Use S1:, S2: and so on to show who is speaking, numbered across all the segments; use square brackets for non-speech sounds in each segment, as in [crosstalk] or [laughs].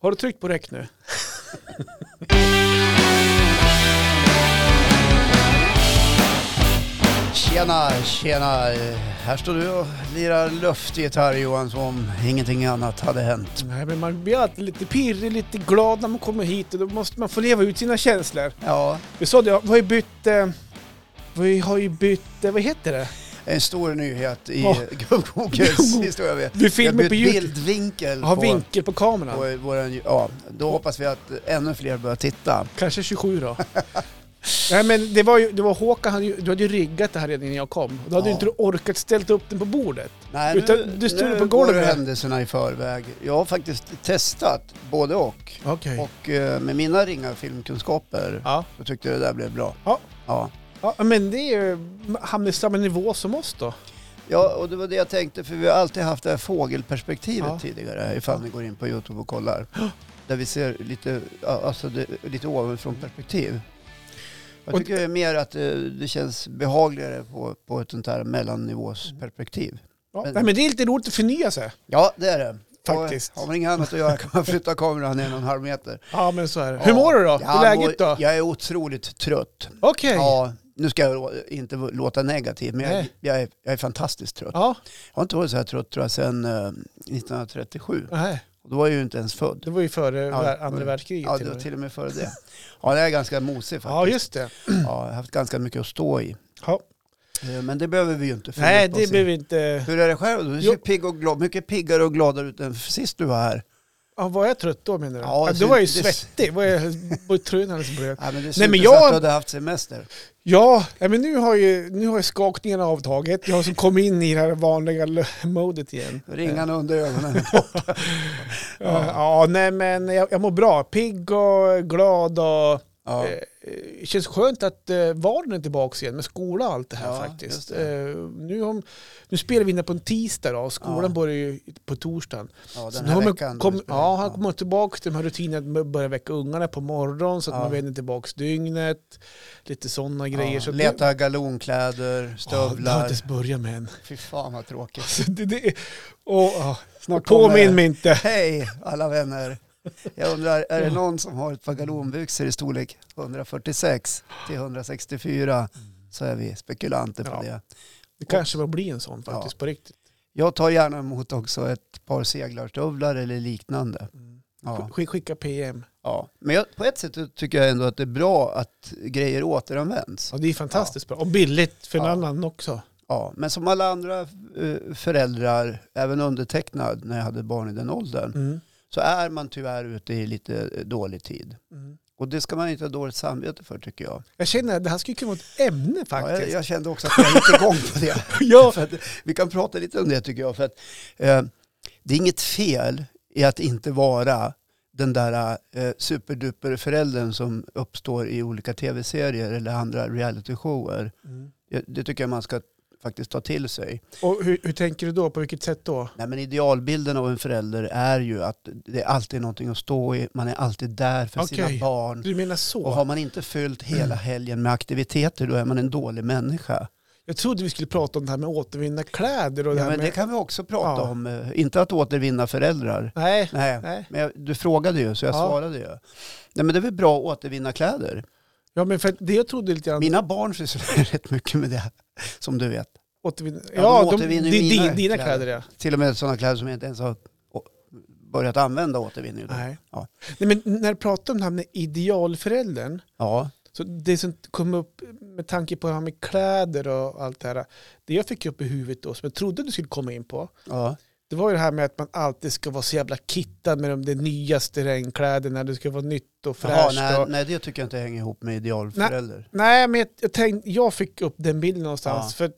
S1: Har du tryckt på räck nu?
S2: Tjena, tjena. Här står du och lirar luftgitarr Johan som om ingenting annat hade hänt.
S1: Nej, men man blir alltid lite pirrig, lite glad när man kommer hit och då måste man få leva ut sina känslor.
S2: Ja,
S1: Vi sa det, vi har ju bytt... eh, Vi har ju bytt... eh, Vad heter det?
S2: en stor nyhet i
S1: Ja. [laughs]
S2: Gubbkokens historia. Vi-
S1: Vi
S2: Vi har
S1: filmar
S2: bytt
S1: på Youtube.
S2: bildvinkel
S1: Har
S2: på,
S1: vinkel på kameran.
S2: på våran... Ja, då hoppas vi att ännu fler börjar titta.
S1: Kanske 27 [laughs] då. Nej men det var ju, det var Håkan, han, du hade ju riggat det här redan innan jag kom. Då hade du
S2: Ja.
S1: inte orkat ställt upp den på bordet.
S2: Nej,
S1: Utan du stod
S2: nu
S1: på
S2: går
S1: golvet.
S2: händelserna i förväg. Jag har faktiskt testat både och.
S1: Okej.
S2: Och eh, med mina ringa filmkunskaper
S1: Ja.
S2: så tyckte jag det där blev bra.
S1: Ja.
S2: ja.
S1: ja, men det är ju, hamnar i samma nivå som oss då.
S2: Ja, och det var det jag tänkte, för vi har alltid haft det här fågelperspektivet
S1: Ja.
S2: tidigare, ifall ni går in på Youtube och kollar. Där vi ser lite, ja, alltså det, lite ovanifrån perspektiv. Jag
S1: Och-
S2: tycker mer att eh, det känns behagligare på, på ett sånt här mellannivåsperspektiv.
S1: Ja.
S2: Men-
S1: Nej men det är lite roligt att förnya sig.
S2: Ja, det är det.
S1: Faktiskt.
S2: Och, eh, har man inget annat att göra kan man flytta kameran en och en halv meter.
S1: Ja men så är det.
S2: Ja.
S1: Hur mår du då? Hur är
S2: Jag
S1: läget
S2: mår-
S1: då?
S2: Jag är otroligt trött.
S1: Okej.
S2: Ja, nu ska jag då inte låta negativ, men jag,
S1: Nej.
S2: jag, är, jag är fantastiskt trött.
S1: Ja.
S2: Jag har inte varit så här trött tror jag sedan eh, 1937.
S1: Nej,
S2: Och då var jag ju inte ens född.
S1: det var ju före
S2: Ja,
S1: vär- andra världskriget.
S2: Ja,
S1: till
S2: det
S1: och
S2: var
S1: med.
S2: till och med före det. Ja, det är ganska mosig
S1: ja
S2: faktiskt.
S1: just det.
S2: Ja, jag har haft ganska mycket att stå i.
S1: Ja.
S2: Eh, Men det behöver vi ju inte fördjupa
S1: Nej
S2: oss
S1: det
S2: i.
S1: blev inte...
S2: Hur är det själv? Du ser
S1: Jo.
S2: pigg och glad, mycket piggare och gladare ut än sist du var här.
S1: Ja, var jag trött då menar du?
S2: Ja,
S1: Ja,
S2: det
S1: då var jag ju
S2: ser- det-
S1: svettig. Var jag, var ju tröjan alldeles blöt.
S2: Nej, men det ser
S1: Nej,
S2: ut
S1: men
S2: som
S1: jag-
S2: att du hade haft semester.
S1: [laughs] Ja, nej, men nu har, ju, nu har jag skakningarna avtagit. Jag har som kommit in i det här vanliga l- modet igen.
S2: Ringarna
S1: [laughs]
S2: under ögonen.
S1: Ja, ja nej men jag, jag mår bra. Pigg och glad och...
S2: Ja.
S1: eh, eh, känns skönt att eh, vardagen är tillbaka igen med skola och allt det här
S2: Ja, just
S1: faktiskt.
S2: det.
S1: Eh, nu, om, nu spelar vi in det på en tisdag då, och skolan
S2: Ja.
S1: börjar ju på torsdagen.
S2: ja,
S1: Så
S2: den
S1: nu har
S2: här
S1: man
S2: veckan.
S1: Kom, ja, han kommer tillbaka till de här rutinerna att man börjar väcka ungarna på morgonen så att
S2: Ja.
S1: man vänder tillbaka dygnet. Lite sådana grejer.
S2: Ja,
S1: så att nu-
S2: leta galonkläder,
S1: Ja, det har
S2: stövlar.
S1: jag inte ens börjat med än.
S2: Fy fan vad tråkigt.
S1: Så [laughs] det, det, och, ja,
S2: Snart
S1: påminn
S2: kommer-
S1: mig inte.
S2: Hej alla vänner. Jag undrar, är det någon som har ett par galonbyxor i storlek 146 till 164 så är vi spekulanter på
S1: Ja.
S2: det.
S1: Det kanske bara blir en sån faktiskt på riktigt.
S2: Jag tar gärna emot också ett par seglarstövlar eller liknande. Ja.
S1: Sk- Skicka PM.
S2: Ja. Men jag, på ett sätt tycker jag ändå att det är bra att grejer återanvänds.
S1: Ja, det är fantastiskt bra. Och billigt för en
S2: Ja.
S1: annan också.
S2: Ja. Men som alla andra eh, föräldrar, även undertecknad när jag hade barn i den åldern,
S1: Mm.
S2: så är man tyvärr ute i lite eh, dålig tid.
S1: Mm.
S2: Och det ska man inte ha dåligt samvete för tycker jag.
S1: Jag känner att det här skulle kunna vara ett ämne
S2: Ja, jag, [laughs]
S1: faktiskt.
S2: jag kände också att jag gick igång på det.
S1: Ja,
S2: För att, vi kan prata lite om det tycker jag. För att, eh, det är inget fel i att inte vara den där eh, superduper föräldern som uppstår i olika tv-serier eller andra realityshower.
S1: Mm.
S2: Det, det tycker jag man ska faktiskt ta till sig.
S1: Och hur, hur tänker du då? På vilket sätt då?
S2: Nej, men idealbilden av en förälder är ju att det är alltid är någonting att stå i, man är alltid där för
S1: Okej.
S2: sina barn.
S1: Du menar så? Mm.
S2: Och har man inte fyllt hela helgen med aktiviteter då är man en dålig människa.
S1: Jag trodde vi skulle prata om det här med att återvinna kläder och det
S2: Ja,
S1: här
S2: men
S1: med...
S2: det kan vi också prata
S1: Ja.
S2: om. Eh, Inte att återvinna föräldrar.
S1: Nej.
S2: Nej,
S1: Nej.
S2: men jag, du frågade ju så jag
S1: Ja.
S2: svarade ju. Nej, men det är väl bra att återvinna kläder.
S1: Ja, men för att det jag trodde lite grann...
S2: Mina barn sysslar [laughs] rätt mycket med det, som du vet.
S1: Återvinna... Ja,
S2: de
S1: de,
S2: återvinner
S1: det är
S2: mina
S1: din, dina
S2: kläder.
S1: kläder, ja.
S2: Till och med sådana kläder som jag inte ens har å- börjat använda återvinner ju. då.
S1: Nej.
S2: Ja.
S1: Nej, men när du pratar om det här med idealföräldern,
S2: Ja,
S1: så det som kom upp med tanke på det här med kläder och allt det här, det jag fick upp i huvudet då, som jag trodde du skulle komma in på,
S2: ja.
S1: det var ju det här med att man alltid ska vara så jävla kittad med de, de nyaste regnkläderna, det ska vara nytt och
S2: Jaha,
S1: fräscht.
S2: nej,
S1: och...
S2: nej, det tycker jag inte hänger ihop med idealförälder.
S1: Nej, men jag, jag, tänkte, jag fick upp den bilden någonstans.
S2: Ja.
S1: För att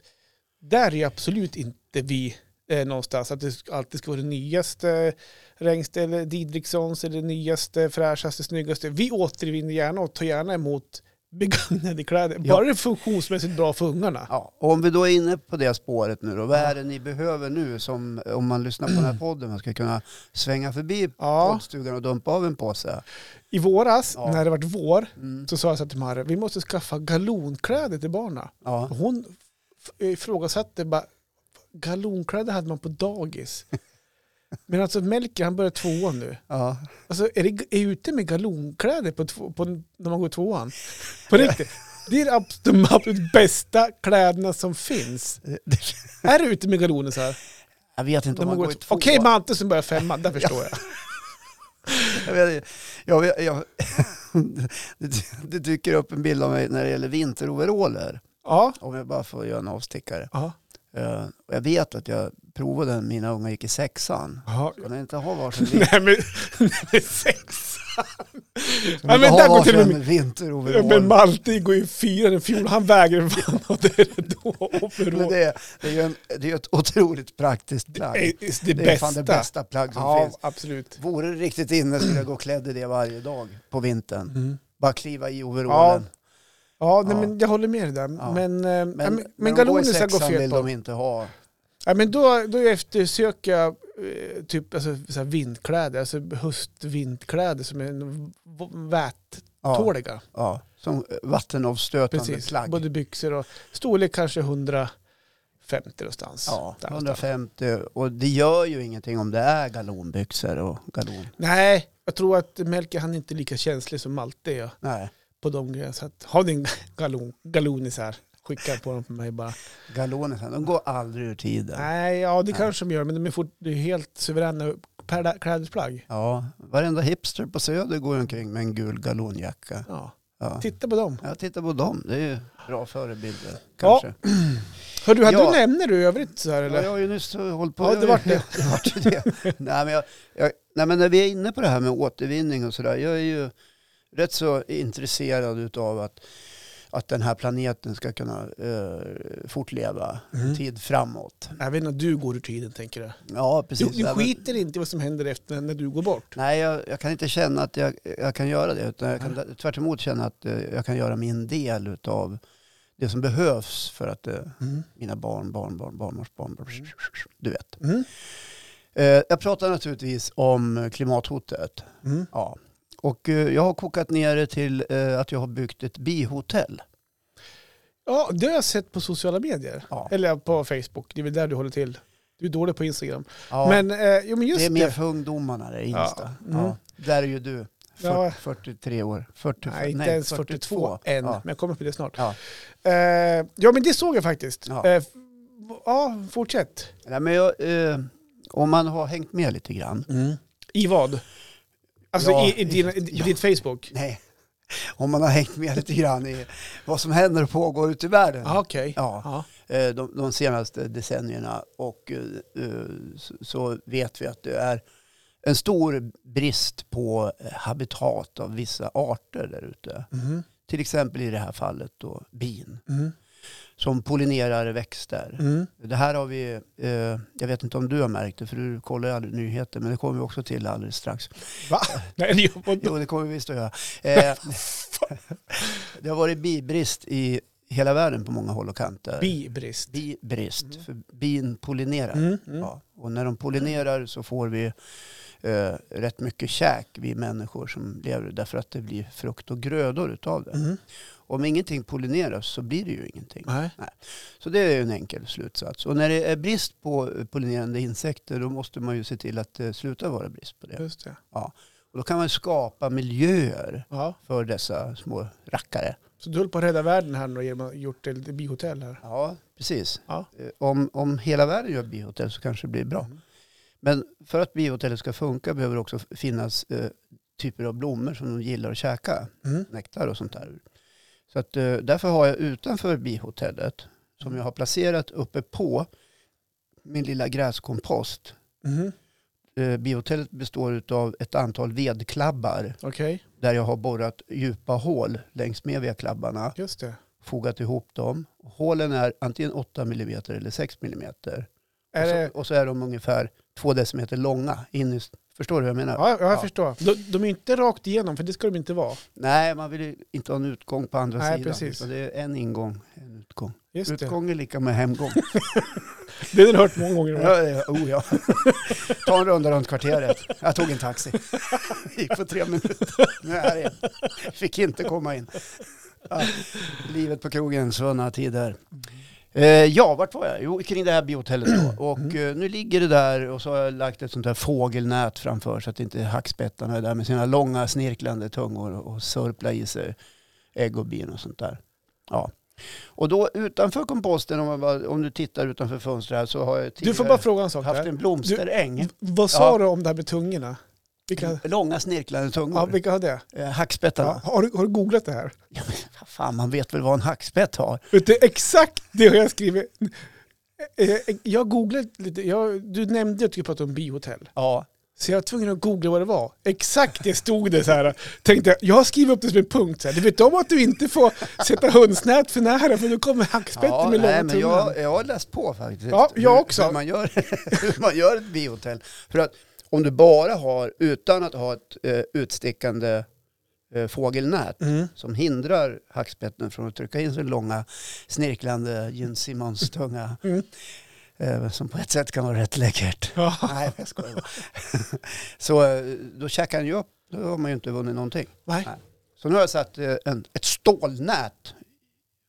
S1: där är absolut inte vi eh, någonstans. Att det sk- alltid ska vara det nyaste Rengste eller Didrikssons eller det nyaste, fräschaste, snyggaste. Vi återvinner gärna och tar gärna emot begagnade kläder.
S2: Ja.
S1: Bara det är funktionsmässigt bra för ungarna.
S2: Ja, och om vi då är inne på det spåret nu då, vad är det ni behöver nu som om man lyssnar på
S1: [clears throat]
S2: den här podden, man ska kunna svänga förbi
S1: Ja,
S2: poddstugan och dumpa av en påse?
S1: i våras
S2: Ja.
S1: när det vart vår
S2: Mm.
S1: så sa jag så här till Marre, vi måste skaffa galonkläder till barnen.
S2: Ja.
S1: Och Hon eh, [laughs] f- ifrågasatte bara, galonkläder hade man på dagis. Men alltså Melker han börjar tvåan nu. [laughs]
S2: Ja.
S1: Alltså är det är ute med galonkläder på, två, på när man går tvåan? På riktigt. Det är de abs- de absolut bästa kläderna som finns. Är du ute med galoner så här?
S2: Jag vet inte
S1: När
S2: om
S1: man
S2: man går i
S1: ut-
S2: två.
S1: Okej, Mante som börjar femman, [laughs] där förstår jag.
S2: Jag vet, jag, vet- jag, [laughs] det, det dyker upp en bild av mig när det gäller vinteroveraller.
S1: Ja.
S2: Om jag bara får göra en avstickare.
S1: Ja.
S2: Eh, och jag vet att jag provade den när mina unga gick i sexan.
S1: ja.
S2: Kan jag inte ha varsin
S1: [laughs] Nej
S2: vinter?
S1: men, nej, men sexan.
S2: Kan
S1: Nej men
S2: inte ha
S1: där går till och med
S2: varsin
S1: Ja, men
S2: vinteroverall?
S1: Malte går ju fyra i fjol, han väger fan och det är då
S2: Men
S1: overall.
S2: det, är- det är ju en, det är ju ett otroligt praktiskt plagg.
S1: Det är det,
S2: Det är
S1: bästa.
S2: fan det bästa plagg som
S1: ja,
S2: finns.
S1: absolut.
S2: Vore det riktigt inne skulle jag gå klädd i det varje dag på vintern. Bara kliva i
S1: Mm. Ja,
S2: overallen.
S1: Ja, nej,
S2: Ja.
S1: men jag håller med dig där.
S2: Ja.
S1: Men, eh, men,
S2: Men,
S1: men,
S2: men
S1: galonisar går
S2: fel
S1: fel
S2: vill
S1: på.
S2: de inte ha.
S1: Ja, men då, då eftersöker jag eh, typ alltså, så här vindkläder, alltså höstvindkläder som är en- v-
S2: Ja,
S1: vättåliga.
S2: ja. Som vattenavstötande
S1: Precis,
S2: plagg.
S1: både byxor och storlek kanske 150 någonstans.
S2: Ja,
S1: Där någonstans.
S2: 150. Och det gör ju ingenting om det är galonbyxor och galon.
S1: Nej, jag tror att Melker han är inte lika känslig som Malte är
S2: Nej,
S1: på de grejerna. Så att, har ni en [laughs] galon, galonis här, skicka på dem på mig bara.
S2: galonerna, de går aldrig ur tiden.
S1: Nej, ja det
S2: Nej.
S1: kanske de gör, men de är, fort, det är helt suveräna per- klädesplagg.
S2: Ja, varenda hipster på Söder går omkring med en gul galonjacka.
S1: Ja.
S2: Ja.
S1: Titta på dem.
S2: Jag tittar på dem, det är ju bra förebilder kanske. Ja,
S1: Hör du, hade
S2: Ja.
S1: du nämner du i övrigt så här eller?
S2: jag har ju nyss eh, hållit på.
S1: Ja, det vart det.
S2: [laughs] det, vart ju det. nej, men jag, jag, nej, men när vi är inne på det här med återvinning och sådär. Jag är ju rätt så intresserad utav att, att den här planeten ska kunna eh, fortleva en
S1: Mm.
S2: tid framåt.
S1: Jag vet inte, du går ur tiden tänker jag.
S2: Ja,
S1: Du,
S2: precis.
S1: du
S2: Nej, men-
S1: skiter inte i vad som händer efter när du går bort.
S2: Nej, jag, jag kan inte känna att jag, jag kan göra det. Utan jag kan tvärt emot känna att eh, jag kan göra min del utav det som behövs för att eh,
S1: Mm.
S2: mina barn, barn, barn, barnbarns barn, barn,
S1: Mm.
S2: du vet.
S1: Mm.
S2: Eh, jag pratar naturligtvis om klimathotet.
S1: Mm.
S2: Ja. Och eh, jag har kokat ner det till eh, att jag har byggt ett bihotell.
S1: Ja, det har jag sett på sociala medier.
S2: Ja.
S1: Eller på Facebook, det är väl där du håller till. Du är dålig på Instagram.
S2: Ja,
S1: Men, eh, jo, men just
S2: det
S1: det.
S2: är mer för ungdomarna, det är Insta.
S1: Ja. Mm.
S2: Ja. Där är ju du,
S1: Ja.
S2: 40, 43 år. 40,
S1: Nej, inte ens 42, än,
S2: Ja.
S1: men jag kommer på det snart.
S2: Ja.
S1: Eh, ja, men det såg jag faktiskt.
S2: Ja.
S1: Ja, eh, f- ja fortsätt.
S2: Nej, men jag, eh, om man har hängt med lite grann.
S1: I vad? Alltså
S2: Mm. Ja,
S1: i, i, dina, i
S2: ja.
S1: ditt Facebook?
S2: Nej, [laughs] om man har hängt med lite grann i vad som händer och pågår ute i världen.
S1: Ja, Ah, okej.
S2: Ja.
S1: Ja.
S2: eh, de, de senaste decennierna och eh, eh, så, så vet vi att det är en stor brist på eh, habitat av vissa arter där ute.
S1: Mhm,
S2: Till exempel i det här fallet då bin
S1: mhm,
S2: som pollinerar växter.
S1: mhm.
S2: Det här har vi, eh, jag vet inte om du har märkt det för du kollar ju aldrig nyheter men det kommer vi också till alldeles strax.
S1: Va? [laughs] Nej, det gör vadå?
S2: Jo det kommer vi visst att göra. Eh, [laughs] det har varit bibrist i hela världen på många håll och kanter.
S1: Bibrist.
S2: Bibrist,
S1: Mm.
S2: för bin pollinerar.
S1: Mm, mm.
S2: Ja. Och när de pollinerar så får vi eh, rätt mycket käk, vi människor som lever, därför att det blir frukt och grödor utav det.
S1: Mhm.
S2: Om ingenting pollineras så blir det ju ingenting.
S1: Nej.
S2: Så det är ju en enkel slutsats. Och när det är brist på eh, pollinerande insekter då måste man ju se till att det slutar vara brist på det.
S1: Just det.
S2: Och då kan man ju skapa miljöer
S1: Ja.
S2: för dessa små rackare.
S1: Så du höll på att rädda världen här nu genom att ha gjort ett bihotell här?
S2: Ja, precis.
S1: Ja.
S2: Eh, Om, om hela världen gör bihotell så kanske det blir bra.
S1: Mm.
S2: Men för att biohotellet ska funka behöver det också finnas eh, typer av blommor som de gillar att käka,
S1: Mm.
S2: nektar och sånt där. ur. Så att, eh, därför har jag utanför bihotellet, som jag har placerat uppe på min lilla gräskompost,
S1: Mhm.
S2: eh, bihotellet består av ett antal vedklabbar
S1: Okej,
S2: där jag har borrat djupa hål längs med vedklabbarna,
S1: just det.
S2: fogat ihop dem. Hålen är antingen 8 mm eller 6 mm.
S1: Är
S2: och, så,
S1: det...
S2: och så är de ungefär 2 decimeter långa. In i, förstår du vad jag menar?
S1: Ja, jag
S2: Ja.
S1: förstår. De, de är inte rakt igenom, för det ska de inte vara.
S2: Nej, man vill ju inte ha en utgång på andra
S1: Nej,
S2: sidan.
S1: precis.
S2: Så det är en ingång, en utgång.
S1: Just det.
S2: utgång är lika med hemgång.
S1: Det har du hört många gånger.
S2: [laughs] ja, ja, oh, ja. [laughs] Ta en runda runt kvarteret. Jag tog en taxi. [laughs] Gick på tre minuter. Nu är jag här igen. Fick inte komma in. Ja, livet på krogen, svunna tider. Eh, ja, vart var jag? Jo, kring det här
S1: [clears throat]
S2: biohotellet då. Och eh, nu ligger det där och så har jag lagt ett sånt här fågelnät framför så att inte hackspettarna är där med sina långa snirklande tungor och sörplar i sig ägg och bin och sånt där. Ja. Och då utanför komposten, om, man bara, om du tittar utanför fönstret här så har jag
S1: Du får
S2: tidigare
S1: bara fråga en sak
S2: haft
S1: där.
S2: en blomsteräng.
S1: Vad sa
S2: Mm. Ja. Mm.
S1: du om det här med tungorna? Vilka,
S2: Långa snirklande
S1: ja,
S2: tungor.
S1: vilka har det?
S2: Eh, hackspettarna.
S1: Ja. Har, du, har du googlat det här?
S2: Ja, men, fan, man vet väl vad en hackspett har?
S1: Vet du, exakt det har jag skrivit. Eh, eh, Jag googlade lite, jag, du nämnde typ att du pratade om bihotell.
S2: Ja.
S1: Så jag var tvungen att googla vad det var. Exakt det stod det så här. Tänkte jag, jag har skrivit upp det som en punkt. Så här. Du vet om att du inte får sätta hönsnät för nära för då kommer hackspetten
S2: Ja,
S1: med
S2: nej,
S1: långa
S2: men
S1: tungan.
S2: jag, jag har läst på faktiskt.
S1: Ja, jag
S2: hur-
S1: också.
S2: Hur man, gör, [laughs] hur man gör ett bihotell. För att om du bara har, utan att ha ett eh, utstickande eh, fågelnät
S1: Mm.
S2: som hindrar hackspetten från att trycka in sin långa snirklande Jens Simons tunga.
S1: [laughs] Mm.
S2: Eh, som på ett sätt kan vara rätt läckert.
S1: Ja.
S2: Nej, jag skojar bara. [laughs] Så eh, då käkar han ju upp, då har man ju inte vunnit någonting.
S1: Nej,
S2: Så nu har jag satt eh, en, ett stålnät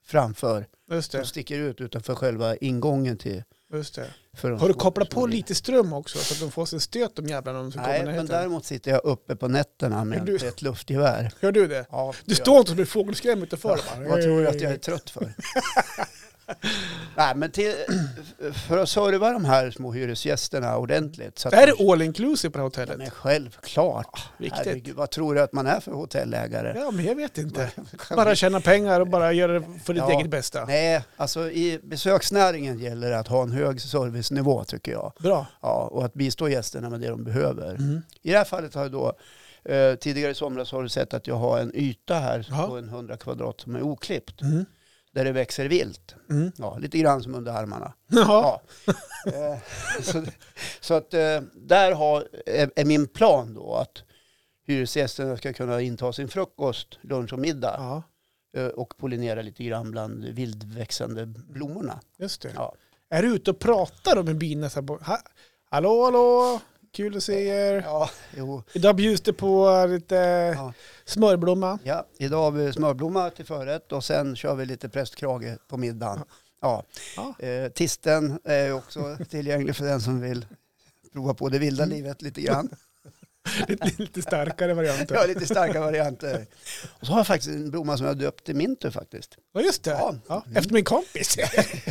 S2: framför
S1: just
S2: som
S1: det.
S2: sticker ut utanför själva ingången till...
S1: Just det.
S2: För de
S1: Har du
S2: små-
S1: kopplat
S2: små
S1: på
S2: djuren.
S1: lite ström också så att de får sin stöt de jävlarna om de ska komma
S2: Nej, men
S1: nära.
S2: däremot sitter jag uppe på nätterna med
S1: Du-
S2: ett luftgevär.
S1: Hör du det?
S2: Ja,
S1: Du står inte som en fågelskräm utanför.
S2: Ja,
S1: bara.
S2: Vad tror du att jag är
S1: [laughs]
S2: trött för? Nej, men till, för att serva de här små hyresgästerna ordentligt. Så att
S1: Det här
S2: de-
S1: är all inclusive på det här
S2: Ja, men
S1: hotellet.
S2: självklart.
S1: viktigt.
S2: Herregud, vad tror du att man är för hotellägare?
S1: Ja, men jag vet inte. Bara tjäna pengar och bara göra det för ditt
S2: Ja.
S1: eget bästa.
S2: Nej, alltså i besöksnäringen gäller det att ha en hög servicenivå tycker jag.
S1: Bra.
S2: Ja, och att bistå gästerna med det de behöver.
S1: Mm.
S2: I det här fallet har jag då, eh, tidigare i somras har du sett att jag har en yta här
S1: Jaha.
S2: på en 100 kvadrat som är oklippt.
S1: Mm.
S2: Där det växer vilt.
S1: Mm. [laughs]
S2: Ja, lite grann som under armarna.
S1: Ja. [laughs]
S2: Ja. Eh, så, så att eh, där har, är, är min plan då att hyresgästerna ska kunna inta sin frukost, lunch och middag
S1: ja,
S2: eh, och pollinera lite grann bland vildväxande blommorna.
S1: just det.
S2: Ja.
S1: Är du ute och pratar då med bina så här på, ha, Hallå, hallå, kul att se er.
S2: Ja, jo.
S1: Idag bjuds det på lite
S2: Ja.
S1: smörblomma. [laughs]
S2: Ja, idag har vi smörblomma till förrätt och sen kör vi lite prästkrage på middagen. Ja.
S1: Ja.
S2: Eh, tisten är också tillgänglig för den som vill prova på det vilda livet lite grann.
S1: [laughs] lite, lite starkare varianter.
S2: Jag har lite starka varianter. Och så har jag faktiskt en blomma som jag döpt till Mintu faktiskt. [laughs]
S1: Ja, just det.
S2: Ja.
S1: Ja. Efter min kompis.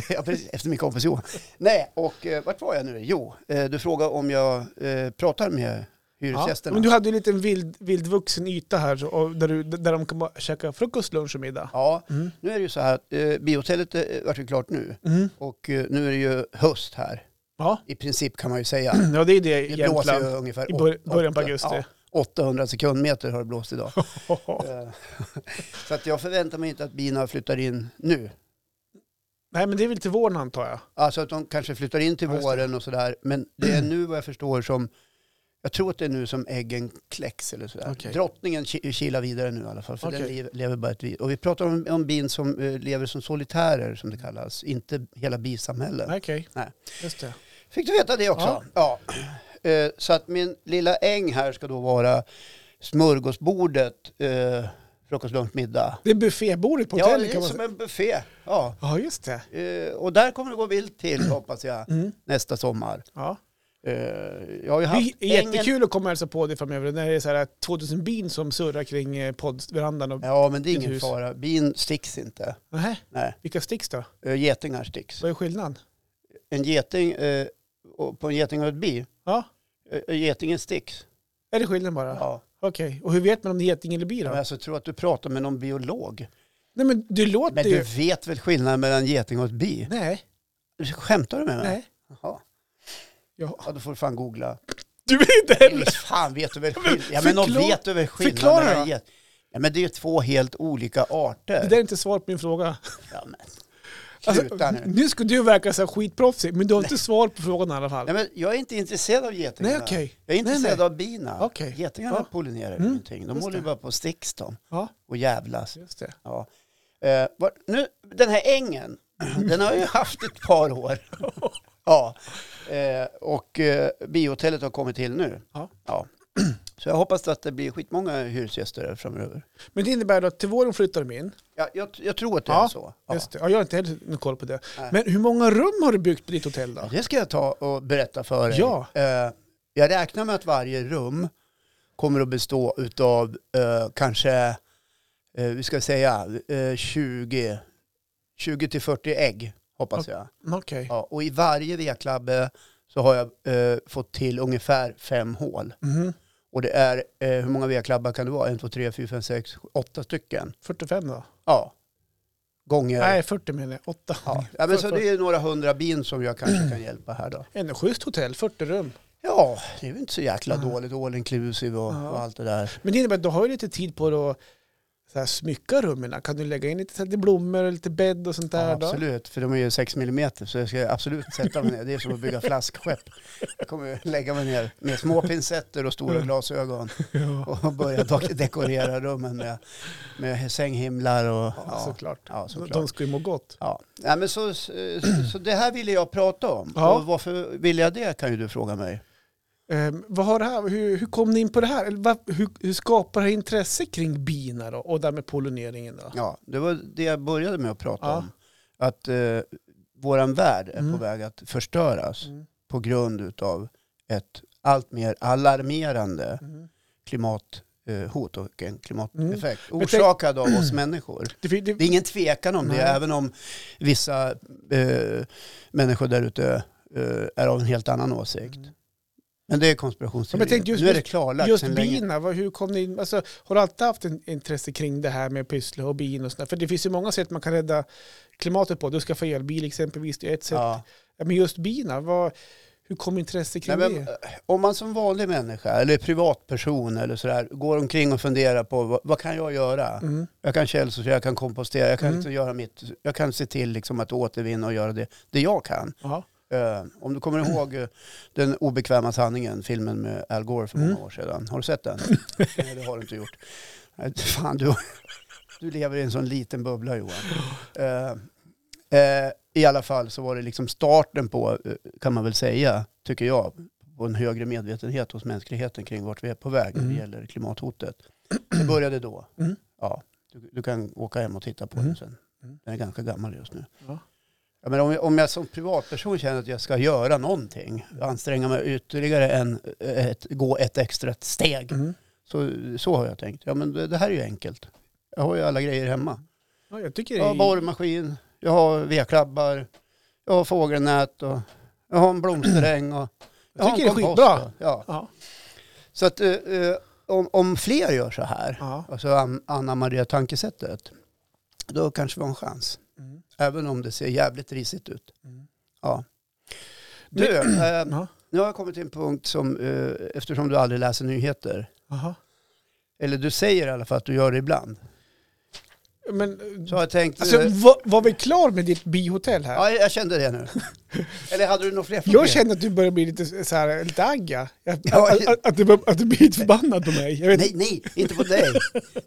S2: Ja, precis, Efter min kompis Johan. Nej, och eh, vart var jag nu? Jo, eh, du frågade om jag eh, pratar med
S1: Ja.
S2: hyresgästerna.
S1: Men du hade ju en liten vild, vildvuxen yta här så- och där, du, där de kan bara käka frukost, lunch och middag.
S2: Ja,
S1: Mm.
S2: nu är det ju så här att eh, biohotellet eh, vart ju klart nu.
S1: Mm.
S2: Och eh, nu är det ju höst här.
S1: Ja.
S2: I princip kan man ju säga.
S1: [clears throat] ja, det är det i
S2: Det blåser ju
S1: Jämtland.
S2: ungefär
S1: I bör-
S2: åt-
S1: början på
S2: åtta-
S1: augusti.
S2: ja, 800 sekundmeter har det blåst idag. Eh, [laughs] så att jag förväntar mig inte att bina flyttar in nu.
S1: [laughs] Nej, men det är väl till våren antar jag.
S2: Alltså att de kanske flyttar in till
S1: Ja, just det.
S2: våren och sådär. Men det är nu vad jag förstår som, jag tror att det är nu som äggen kläcks eller sådär.
S1: Okej.
S2: Drottningen ki- kilar vidare nu i alla fall, för den
S1: Okej.
S2: lever, lever bara ett vi. Och vi pratar om, om bin som eh, lever som solitärer som det kallas, inte hela bisamhällen.
S1: Nej, Okej,
S2: Nej.
S1: just det.
S2: Fick du veta det också? Ja. Eh, Så att min lilla äng här ska då vara smörgåsbordet, eh, frukost, lunch, middag.
S1: Det är buffébordet på
S2: Ja,
S1: hotellet
S2: det är
S1: kan man säga.
S2: som en buffé. Ja.
S1: Ja, just det.
S2: Eh, Och där kommer det gå
S1: [clears throat]
S2: vilt till, hoppas jag,
S1: Mm.
S2: nästa sommar.
S1: Ja.
S2: Eh, Jag har ju haft
S1: Det är jättekul att komma och hälsa på dig framöver när det är så här 2000 bin som surrar kring eh, poddverandan. Och...
S2: Ja, men det är
S1: Ditt
S2: ingen
S1: hus.
S2: fara. Bin sticks inte.
S1: Nähä,
S2: Nej,
S1: vilka sticks då?
S2: Eh, getingar sticks.
S1: Vad är skillnaden?
S2: En geting, eh, och- på en geting och ett bi,
S1: Ja,
S2: eh, getingen sticks.
S1: är det skillnaden bara?
S2: Ja.
S1: Okej, och hur vet man om det är geting eller bi då?
S2: Men alltså, tror att du pratar med någon biolog.
S1: Nej men du låter
S2: Men
S1: ju...
S2: du vet väl skillnaden mellan geting och ett bi?
S1: Nej,
S2: Skämtar du med mig?
S1: nej.
S2: Jaha.
S1: Ja.
S2: Ja, då får du fan googla.
S1: Du vet inte heller!
S2: Visst fan vet du väl skillnaden? Ja, men de
S1: förklara-
S2: vet du väl skillnaden
S1: förklara
S2: mellan
S1: då.
S2: get... Ja, men det är ju två helt olika
S1: Det
S2: arter.
S1: där är inte svar på min fråga.
S2: Ja, men.
S1: Alltså,
S2: Sluta nu.
S1: nu ska du verka så här skitproffsig, men du har inte svar på frågan i alla fall.
S2: Nej, men jag är inte intresserad av getingarna.
S1: Nej, okej.
S2: Jag är
S1: Nej,
S2: intresserad
S1: nej.
S2: av bina.
S1: Okej.
S2: Getingarna
S1: Ja.
S2: pollinerar
S1: Mm,
S2: ingenting. De
S1: just
S2: håller ju
S1: det.
S2: bara på och sticks de
S1: Ja,
S2: och jävlas.
S1: just det.
S2: Ja. Eh, var, nu, den här ängen, [clears throat] den har jag ju haft ett
S1: [laughs]
S2: par år. ja. [clears throat] Eh, och eh, biohotellet har kommit till nu.
S1: Ja.
S2: Så jag hoppas att det blir skitmånga hyresgäster här framöver.
S1: Men det innebär då att till våren flyttar de in.
S2: Ja, jag, jag tror att det
S1: Ja,
S2: är så. Ja.
S1: Just det. Ja, jag har inte heller någon koll på det.
S2: Nej.
S1: Men hur många rum har du byggt på ditt hotell då?
S2: Ja, Det ska jag ta och berätta för dig.
S1: Ja.
S2: Eh, Jag räknar med att varje rum kommer att bestå av kanske, eh, vi ska säga, eh, 20, 20 till 40 ägg hoppas jag.
S1: Mm, Okej.
S2: Ja, och i varje veklabbe så har jag eh, fått till ungefär fem hål.
S1: Mhm.
S2: Och det är, eh, hur många veklabbar kan det vara? En, två, tre, fyra, fem, sex, sju, åtta stycken.
S1: 45 då?
S2: Ja. Gånger.
S1: Nej, 40 menar jag. 8.
S2: Ja. Ja, men så det är några hundra bin som jag
S1: [clears throat]
S2: kanske kan hjälpa här då.
S1: Ändå schysst hotell, 40 rum.
S2: Ja, det är ju inte så jäkla
S1: Ja.
S2: dåligt. All inclusive och,
S1: Ja.
S2: och allt det där.
S1: Men det innebär att du har ju lite tid på dig att så här, smycka rummen. Kan du lägga in lite, så här, lite blommor och lite bädd och sånt där?
S2: Ja,
S1: då?
S2: absolut, för de är ju 6 millimeter så jag ska absolut sätta mig ner. Det är som att bygga flaskskepp. Jag kommer att lägga mig ner med små pincetter och
S1: Mm.
S2: stora glasögon
S1: [laughs] Ja,
S2: [laughs] och börja dek- dekorera rummen med, med sänghimlar och... Ja,
S1: såklart.
S2: Ja,
S1: De
S2: såklart.
S1: ska ju må gott.
S2: Ja. Ja, men så, så, så det här ville jag prata om.
S1: Ja.
S2: Och varför ville jag det kan ju du fråga mig.
S1: Ehm, vad har det här, hur, hur kom ni in på det här? Eller vad, hur, hur skapar det här intresse kring bina då? Och därmed pollineringen då?
S2: Ja, det var det jag började med att prata
S1: Ja.
S2: om. Att eh, våran värld är
S1: Mm.
S2: på väg att förstöras.
S1: Mm.
S2: på grund av ett allt mer alarmerande
S1: Mm.
S2: klimathot och en klimateffekt
S1: Men tänk-
S2: orsakad av oss människor.
S1: Det, fin- det,
S2: Det är ingen tvekan om det,
S1: Nej.
S2: även om vissa eh, människor där ute eh, är av en helt annan åsikt.
S1: Mm.
S2: Men det är
S1: Ja,
S2: konspirationsteorier.
S1: men tänk just-
S2: nu är det klarlagt
S1: Just
S2: sedan länge.
S1: bina, vad, hur kom ni in? Alltså, har du alltid haft en intresse kring det här med pyssla och bin och sådär? För det finns ju många sätt man kan rädda klimatet på. Du ska få elbil exempelvis, det är ett sätt. Ja.
S2: Ja.
S1: Men just bina, vad, hur kom intresset
S2: Nej,
S1: kring
S2: men,
S1: det?
S2: eh, om man som vanlig människa eller privatperson eller sådär, går omkring och funderar på vad, vad kan jag göra?
S1: Mm.
S2: Jag kan källsortera, jag kan kompostera, jag kan,
S1: Mm.
S2: liksom göra mitt, jag kan se till liksom att återvinna och göra det, det jag kan.
S1: Ja.
S2: Eh, om du kommer ihåg eh, den obekväma sanningen, filmen med Al Gore för många
S1: Mm.
S2: år sedan. Har du
S1: [laughs]
S2: sett den? Nej, det har du inte gjort. Nej, Fan, du, du lever i en sån liten bubbla Johan. Eh, eh, I alla fall så var det liksom starten på, eh, kan man väl säga, tycker jag, på en högre medvetenhet hos mänskligheten kring vart vi är på väg när det
S1: Mm.
S2: gäller klimathotet. Det började då.
S1: Mm.
S2: Ja, du, du kan åka hem och titta på
S1: Mm.
S2: den sen.
S1: Mm.
S2: Den är ganska gammal just nu.
S1: Ja.
S2: Ja, men om, jag, om jag som privatperson känner att jag ska göra någonting, anstränga mig ytterligare en, eh, ett, gå ett extra steg,
S1: Mm.
S2: så, så har jag tänkt. Ja, men det, det här är ju enkelt. Jag har ju alla grejer hemma.
S1: ja, jag tycker
S2: Jag har
S1: det är...
S2: borrmaskin, jag har vedklabbar, jag har fågelnät och jag har en blomsteräng. Och,
S1: Jag
S2: har
S1: tycker
S2: en
S1: det är
S2: kompost
S1: skitbra.
S2: och- Ja.
S1: Ja.
S2: Så att eh, eh, om, om fler gör så här,
S1: Ja.
S2: alltså an- anammar tankesättet, då kanske vi har en chans.
S1: Mm.
S2: Även om det ser jävligt risigt ut.
S1: Mm.
S2: Ja.
S1: [clears throat]
S2: Du, eh,
S1: Ja.
S2: nu har jag kommit till en punkt som, eh, eftersom du aldrig läser nyheter,
S1: Aha.
S2: eller du säger i alla fall att du gör det ibland,
S1: Men,
S2: så har jag tänkt...
S1: alltså,
S2: eh,
S1: var, var vi klar med ditt bihotell här?
S2: ja, jag kände
S1: [laughs]
S2: det nu. eller hade du några fler frågor?
S1: Jag känner att du börjar bli lite, så här, lite agga. Att,
S2: Ja,
S1: att, att, att, du, bör- att du blir lite förbannad på mig. Jag vet
S2: Nej, nej, inte på dig.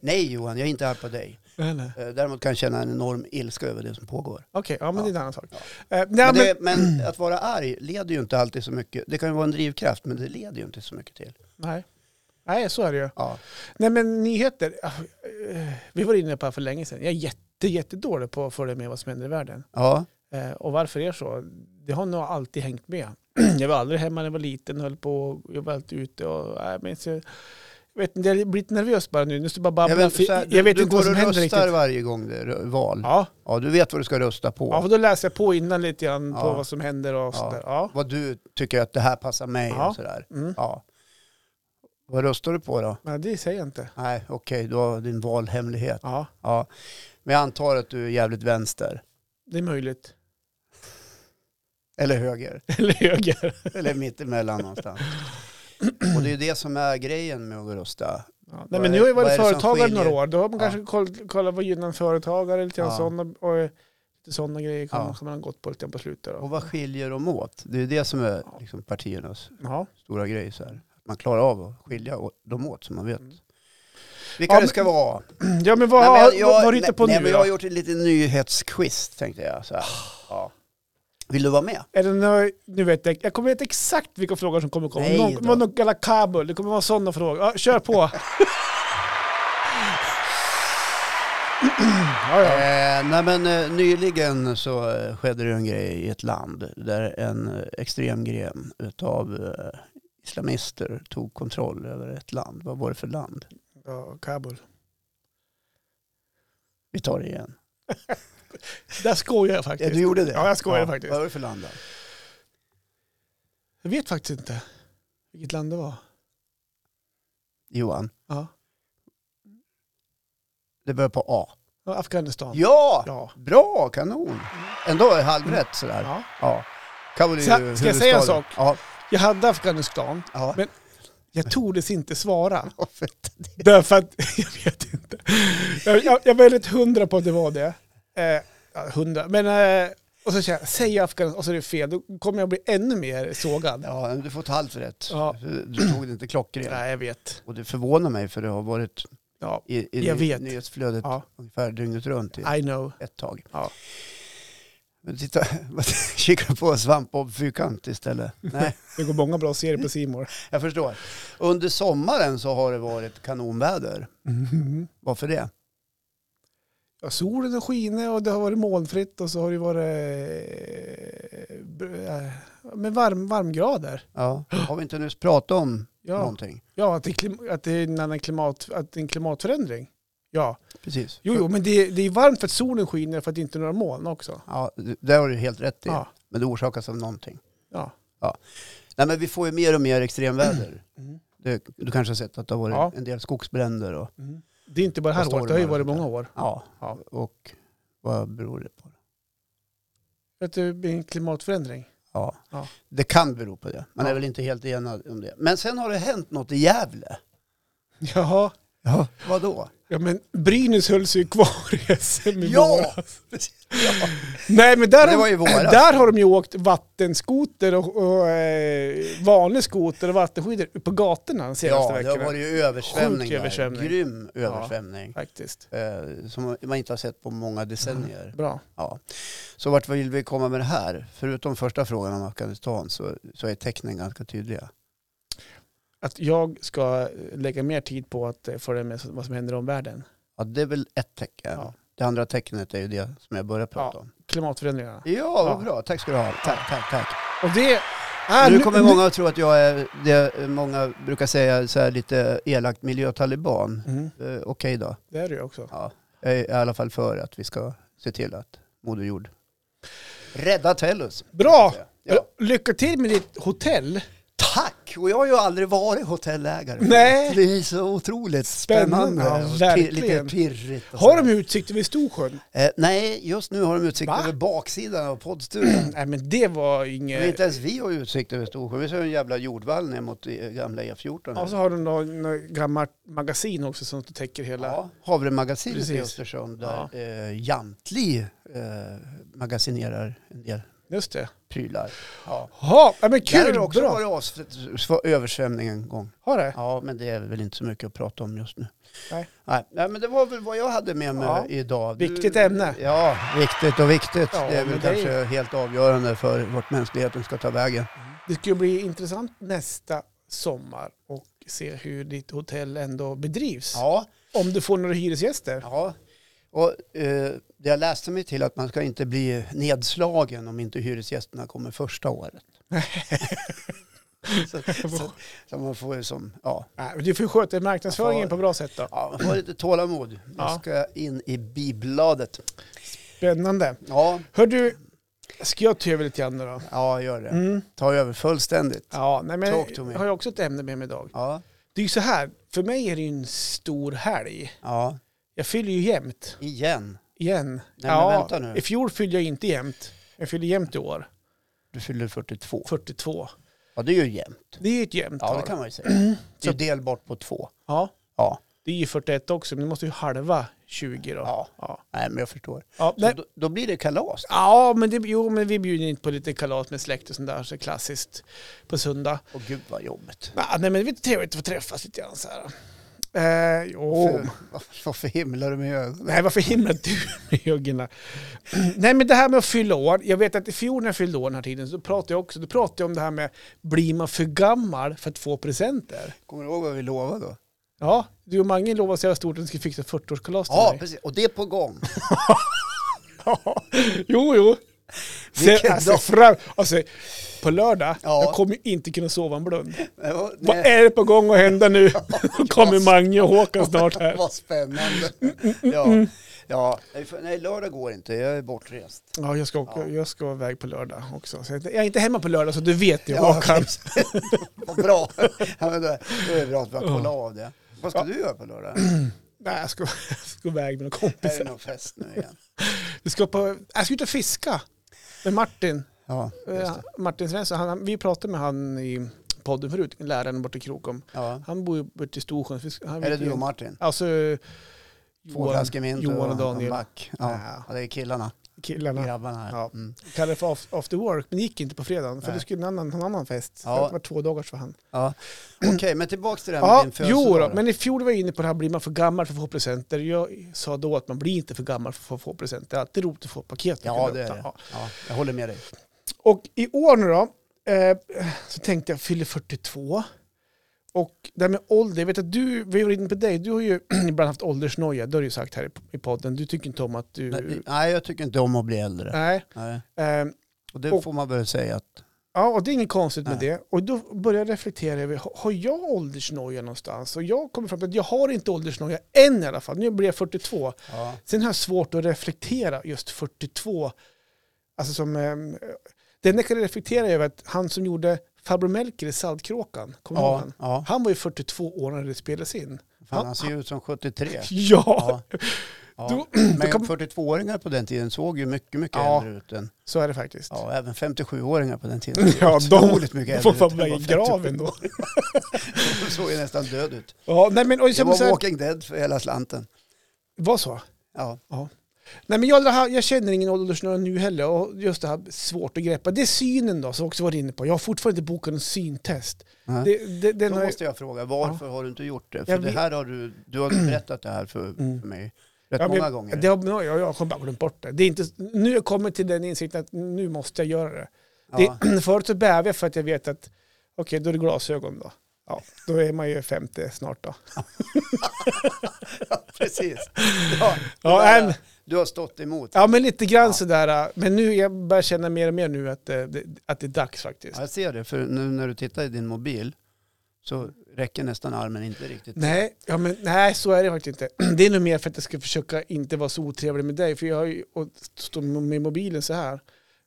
S2: nej Johan, jag är inte arg på dig.
S1: Nej, nej.
S2: Eh, Däremot kan jag känna en enorm ilska över det som pågår.
S1: Okej, ja, men
S2: Ja.
S1: det är en annan sak.
S2: Ja.
S1: Eh, nej, men
S2: Men, det, men att vara arg leder ju inte alltid så mycket. Det kan ju vara en drivkraft, men det leder ju inte så mycket till.
S1: nej. nej, så är det ju.
S2: Ja.
S1: Nej, men nyheter. ah, eh, Vi var inne på det här för länge sedan. Jag är jätte, jättedålig på att följa med vad som händer i världen.
S2: ja.
S1: Eh, Och varför det är så, det har nog alltid hängt med. [clears throat] Jag var aldrig hemma när jag var liten, höll på, jag var alltid ute och... Nej, men så, jag vet inte, jag har blivit nervös bara nu. Nu står jag bara
S2: Jag
S1: babbla.
S2: vet,
S1: för
S2: så här,
S1: Jag,
S2: du,
S1: vet
S2: du
S1: inte vad
S2: går
S1: som
S2: och
S1: händer
S2: röstar
S1: riktigt.
S2: varje gång det är val.
S1: Ja,
S2: Ja, du vet vad du ska rösta på.
S1: ja, för då läser jag på innan lite grann på
S2: Ja.
S1: vad som händer och
S2: Ja.
S1: sådär. Ja.
S2: vad du tycker att det här passar mig
S1: Ja.
S2: och sådär.
S1: Mm.
S2: Ja. Vad röstar du på då?
S1: Nej, det säger jag inte.
S2: Nej, okej, du har din valhemlighet.
S1: Ja,
S2: Ja. Men jag antar att du är jävligt vänster.
S1: det är möjligt. [laughs]
S2: Eller höger.
S1: Eller höger.
S2: Eller mittemellan någonstans. Och det är ju det som är grejen med att rösta.
S1: Ja, nej,
S2: Vad
S1: men
S2: är-
S1: nu har jag
S2: vad
S1: varit
S2: är det som
S1: företagare några
S2: skiljer?
S1: år. Då har man
S2: Ja.
S1: kanske koll- kollat vad gynnar en företagare, lite
S2: Ja.
S1: ja. sådana, och eh, lite sådana grejer kan
S2: Ja.
S1: man- kan man ha gått på lite grann på slutet.
S2: Och
S1: Då.
S2: vad skiljer dem åt? Det är ju det som är liksom, partiernas
S1: Ja.
S2: stora grej. Så här. Att man klarar av att skilja å- dem åt så man vet
S1: Mm.
S2: vilka
S1: Ja,
S2: det
S1: men-
S2: ska vara.
S1: [clears throat] ja, men vad,
S2: Nej, men
S1: vad, vad har du hittat på
S2: nej,
S1: nu
S2: men
S1: då?
S2: Jag har gjort en liten nyhetsquiz tänkte jag. Så här. Ja. Vill du vara med?
S1: Är det nöjd? Nu vet jag, jag kommer veta exakt vilka frågor som kommer komma.
S2: Nej
S1: Någon
S2: då.
S1: kommer vara någon jävla Kabul, det kommer vara sådana frågor. Ja, kör
S2: [laughs]
S1: på! [clears throat] ja, ja.
S2: Eh, nej men, eh, nyligen så eh, skedde det en grej i ett land där en eh, extrem gren utav eh, islamister tog kontroll över ett land. Vad var det för land?
S1: ja, Kabul.
S2: Vi tar det igen.
S1: Där skojar jag
S2: Ja,
S1: faktiskt.
S2: du gjorde det?
S1: Ja, jag skojade faktiskt.
S2: Vad var det för land då?
S1: Jag vet faktiskt inte vilket land det var.
S2: Johan,
S1: Ja.
S2: det börjar på A.
S1: Ja, Afghanistan.
S2: Ja!
S1: Ja.
S2: Bra, kanon! Ändå är halvrätt sådär.
S1: ja.
S2: Ja. Kabul är ju
S1: Ska- ska jag
S2: huvudstaden.
S1: säga en sak?
S2: Ja.
S1: Jag hade Afghanistan.
S2: ja.
S1: Men- Jag tordes inte
S2: [laughs]
S1: svara.
S2: Varför?
S1: Därför att, [laughs] jag vet inte. Jag, jag, jag var väldigt hundra på att det var det. Eh, ja, hundra. Men, eh, och så säger jag, säger jag Afghanistan och så är det fel, då kommer jag bli ännu mer sågad.
S2: Ja, men du får ett halvt rätt.
S1: Ja.
S2: Du tog det inte klockrent.
S1: Nej, jag vet.
S2: Och det förvånar mig för det har varit
S1: Ja,
S2: i, i
S1: Jag vet.
S2: nyhetsflödet
S1: ja
S2: ungefär dygnet runt i
S1: I know.
S2: ett tag.
S1: Ja.
S2: Men titta, [laughs] kika på Svampbob
S1: [laughs]
S2: Fyrkant istället. Nej,
S1: Det går många bra serier på Simor.
S2: jag förstår. Under sommaren så har det varit kanonväder.
S1: mm
S2: Varför det?
S1: Ja, solen har skinit och det har varit molnfritt och så har det varit eh, br- eh, med varm, varmgrader.
S2: Ja. Har vi inte nyss pratat om
S1: Ja,
S2: någonting?
S1: ja att, det är klim- att det är en annan klimat, att det är en klimatförändring. Ja,
S2: Precis.
S1: jo, jo men det, det är varmt för att solen skiner för att det inte är några moln också.
S2: Ja, det har du helt rätt i.
S1: Ja,
S2: Men det orsakas av någonting.
S1: ja.
S2: Nej, men vi får ju mer och mer extremväder.
S1: Mm.
S2: Det, du kanske har sett att det har varit
S1: Ja.
S2: en del skogsbränder och
S1: Mm. Det är inte bara det här
S2: Och
S1: året, det har ju
S2: stormar
S1: varit
S2: och sånt
S1: många år.
S2: Ja.
S1: Ja.
S2: Och vad beror det på?
S1: För att det blir en klimatförändring.
S2: Ja.
S1: Ja.
S2: Det kan bero på det. Man
S1: Ja.
S2: är väl inte helt enad om det. Men sen har det hänt något i Gävle.
S1: Jaha,
S2: Ja. Vad då?
S1: ja men Brynäs höll sig ju kvar i SM i [laughs]
S2: Ja!
S1: våras. Nej men där,
S2: Det
S1: har-
S2: var ju våras.
S1: där har de ju åkt vattenskoter och, och eh, vanlig skoter och vattenskidor på gatorna de senaste
S2: Ja, det har
S1: veckorna.
S2: varit ju översvämning,
S1: Sjuk
S2: där.
S1: översvämning.
S2: Grym översvämning.
S1: Faktiskt.
S2: Eh, som man inte har sett på många decennier.
S1: Bra.
S2: Ja. Så vart vill vi komma med det här? Förutom första frågan om Afghanistan så, så är tecknen ganska tydliga.
S1: Att jag ska eh, lägga mer tid på att eh, följa med vad som händer i omvärlden.
S2: Ja, det är väl ett tecken.
S1: Ja.
S2: Det andra tecknet är ju det som jag började prata om.
S1: Klimatförändringarna.
S2: Ja,
S1: Ja.
S2: vad bra. Tack ska du ha. Tack, tack, tack.
S1: Och det är...
S2: nu kommer många att tro att jag är det många brukar säga så här lite elakt miljötaliban.
S1: Mm,
S2: Eh, Okej då.
S1: det är det ju också.
S2: Ja. Jag är i alla fall för att vi ska se till att Moder Jord rädda Tellus.
S1: Bra!
S2: Ja. Eh,
S1: Lycka till med ditt hotell.
S2: Tack! Och jag har ju aldrig varit hotellägare.
S1: Nej.
S2: Det är så otroligt spännande.
S1: Spännande, ja,
S2: och pir-
S1: verkligen.
S2: lite pirrigt. och
S1: Har
S2: så.
S1: de utsikt över Storsjön?
S2: Eh, nej, just nu har de utsikt
S1: Va?
S2: över baksidan av poddstudion.
S1: Nej men det var
S2: Men
S1: inget...
S2: inte ens vi har utsikt över Storsjön. Vi ser en jävla jordvall ner mot eh, gamla E14. här.
S1: Och så har de något något gammalt magasin också som täcker hela...
S2: Ja, Havremagasinet i
S1: Precis.
S2: Östersund där eh, Jantli eh, magasinerar en del
S1: Just det.
S2: prylar. Ja.
S1: Ja, men
S2: där har
S1: kul!
S2: det också
S1: Bra!
S2: varit avs- för översvämning en gång.
S1: Har det?
S2: Ja, men det är väl inte så mycket att prata om just nu.
S1: Nej.
S2: Nej, nej, men det var väl vad jag hade med mig
S1: Ja.
S2: idag.
S1: Viktigt ämne.
S2: Ja, viktigt och viktigt.
S1: Ja,
S2: det är väl
S1: men det
S2: kanske
S1: är
S2: helt avgörande för vart mänskligheten ska ta vägen.
S1: Det skulle bli intressant nästa sommar och se hur ditt hotell ändå bedrivs.
S2: Ja,
S1: Om du får några hyresgäster.
S2: ja. Och eh, det jag läste mig till att man ska inte bli nedslagen om inte hyresgästerna kommer första året. så,
S1: [laughs]
S2: så, så man får ju som, ja,
S1: Nej, men Du får sköta marknadsföringen på bra sätt då.
S2: ja man får lite tålamod. Nu
S1: Ja.
S2: ska jag in i bibladet.
S1: Spännande.
S2: Ja,
S1: Hör du, ska jag ta över lite grann nu då?
S2: ja gör det.
S1: Mm.
S2: Ta över fullständigt.
S1: Ja, nej, men
S2: Talk to me.
S1: jag har ju också ett ämne med mig idag.
S2: Ja,
S1: Det är ju så här, för mig är det ju en stor helg.
S2: ja,
S1: Jag fyller ju jämnt,
S2: igen.
S1: igen.
S2: men vänta nu.
S1: I fjol fyllde jag inte jämnt. Jag fyller jämnt i år,
S2: Du fyller 42.
S1: 42.
S2: Ja, det är ju jämnt.
S1: Det är ju ett jämnt
S2: Ja,
S1: tal.
S2: det kan man ju [clears throat] säga. Det är ju delbart på två.
S1: ja,
S2: Ja,
S1: det är ju 41 också, men du måste ju halva 20 då.
S2: ja.
S1: Ja,
S2: Nej, men jag förstår.
S1: ja,
S2: Så
S1: nej.
S2: då, då blir det kalas.
S1: ja men, det, jo, men vi bjuder inte på lite kalas med släkt och sånt där, så klassiskt på söndag.
S2: Och gud vad jobbigt.
S1: Ja, nej, men det är trevligt att få träffas lite grann så här. Eh, jo.
S2: För- [laughs] Varför himlar du med ögonen?
S1: Nej, varför himlar du med ögonen? Nej, men det här med att fylla år. Jag vet att i fjol när jag fyllde år den här tiden så pratade jag också då pratade jag om det här med blir man för gammal för att få presenter?
S2: Kommer du ihåg vad vi lovade då?
S1: Ja, du och Mange lovade så jävla stort att ni skulle fixa 40-årskalas till
S2: Ja,
S1: mig.
S2: precis. Och det är på [laughs] gång.
S1: Jo, jo. Sen,
S2: Vilken
S1: alltså,
S2: dag.
S1: fram, alltså, på lördag,
S2: Ja.
S1: jag kommer ju inte kunna sova en blund.
S2: Men vad-
S1: [laughs] Vad
S2: nej,
S1: är det på gång att hända
S2: [laughs]
S1: nu? Då kommer Mange och Håkan snart här.
S2: Vad spännande.
S1: Mm,
S2: Ja, ja. Nej, för- Nej, lördag går inte. Jag är bortrest.
S1: Ja, jag ska, åka, jag ska iväg på lördag också. Så jag, jag är inte hemma på lördag så du vet det
S2: Ja,
S1: Håkan. [laughs]
S2: Vad bra. Ja, men då då är det bra att man kollar av det. Vad ska du göra
S1: [clears throat]
S2: på lördag?
S1: Nej, jag ska, [laughs] jag ska iväg med några
S2: Är det
S1: kompisar.
S2: någon fest nu igen?
S1: Vi ska på, jag ska ut och fiska med Martin.
S2: Ja, just
S1: Eh,
S2: det.
S1: Martin Svensson, han- han, vi pratade med han i podden förut, läraren borta i Krokom.
S2: Ja.
S1: Han bor ju borta i Storsjön. så vi ska- Han,
S2: Är det du och Martin?
S1: Alltså,
S2: Två
S1: Johan,
S2: flaskor mint
S1: Johan och
S2: och en
S1: Daniel,
S2: back. Ja,
S1: Ja.
S2: Ja, det är killarna.
S1: killarna.
S2: Grabbarna här.
S1: Ja.
S2: Mm.
S1: Kallade det för af- after work, men det gick inte på fredagen. För
S2: Nej.
S1: det skulle en annan, en annan fest.
S2: Ja.
S1: Det var två dagars för han. [clears throat]
S2: Ja. Okej, men tillbaka till det här med
S1: Ja,
S2: din födelsedag.
S1: jo då, men i fjol var jag inne på det här, blir man för gammal för att få presenter? Jag sa då att man blir inte för gammal för att få presenter. Det är alltid roligt att få paket.
S2: Ja, det är det. Ja, jag håller med dig.
S1: Och i år nu då, eh, så tänkte jag fyller 42. Och det här med ålder, jag vet att du, vi var inne på dig, du har ju [clears throat] ibland haft åldersnoja, det har du ju sagt här i- i podden. Du tycker inte om att du...
S2: Nej, Nej, jag tycker inte om att bli äldre.
S1: nej.
S2: Nej.
S1: Eh,
S2: Och det
S1: Och-
S2: får man väl säga att
S1: Ja, och det är inget konstigt med
S2: Nej.
S1: det. Och då började jag reflektera över, ha- har jag åldersnoja någonstans? Och jag kommer fram till att jag har inte åldersnoja än i alla fall. Nu blir jag 42.
S2: ja.
S1: Sen har jag svårt att reflektera just 42. Alltså som, ehm, det enda jag kan reflektera över är att han som gjorde Farbror Melker i Saltkråkan, kommer du ihåg
S2: Ja,
S1: han?
S2: ja.
S1: Han var ju 42 år när det spelades in.
S2: Fan, han ser ju ut
S1: [laughs]
S2: som 73.
S1: Ja,
S2: Ja. Ja.
S1: Då-
S2: Men
S1: kan-
S2: 42-åringar på den tiden såg ju mycket, mycket
S1: Ja.
S2: äldre ut. Än,
S1: så är det faktiskt.
S2: ja, även 57-åringar på den tiden såg
S1: [laughs] Ja, de-
S2: otroligt mycket
S1: Då får
S2: äldre ut.
S1: fan
S2: än
S1: vara i
S2: vad 50
S1: graven då.
S2: De [laughs] såg ju nästan död ut.
S1: Ja, nej men, och
S2: Det
S1: sen,
S2: var
S1: så här,
S2: Walking Dead för hela slanten.
S1: vad så?
S2: Ja.
S1: Nej men jag, jag känner ingen åldersnöd nu heller och just det här svårt att greppa. Det är synen då som jag också varit inne på. Jag har fortfarande inte bokat någon syntest.
S2: Nej.
S1: Det, det, den
S2: Då
S1: har jag-
S2: måste jag fråga, varför har du inte gjort det? För
S1: Jag
S2: det
S1: vet- Mm.
S2: här har du, du
S1: [clears throat]
S2: har berättat det här för, för mig rätt
S1: Ja, men-
S2: många gånger.
S1: Det har, jag, jag har bara glömt bort det. det är inte, nu har jag kommit till den insikten att nu måste jag göra det.
S2: ja. [laughs]
S1: det [clears throat] förut så bävde jag för att jag vet att okej, då är det glasögon då. Ja, då är man ju 50 snart då.
S2: Precis. Ja, det
S1: Ja,
S2: där,
S1: en-
S2: Du har stått emot.
S1: Ja, men lite grann
S2: Ja.
S1: sådär. äh, Men nu, jag börjar känna mer och mer nu att, eh, det, att det är dags faktiskt.
S2: Ja, jag ser det, för nu när du tittar i din mobil så räcker nästan armen inte riktigt.
S1: Nej, ja, men, nej, så är det faktiskt inte. [clears throat] Det är nog mer för att jag ska försöka inte vara så otrevlig med dig, för jag har ju och står med mobilen så här.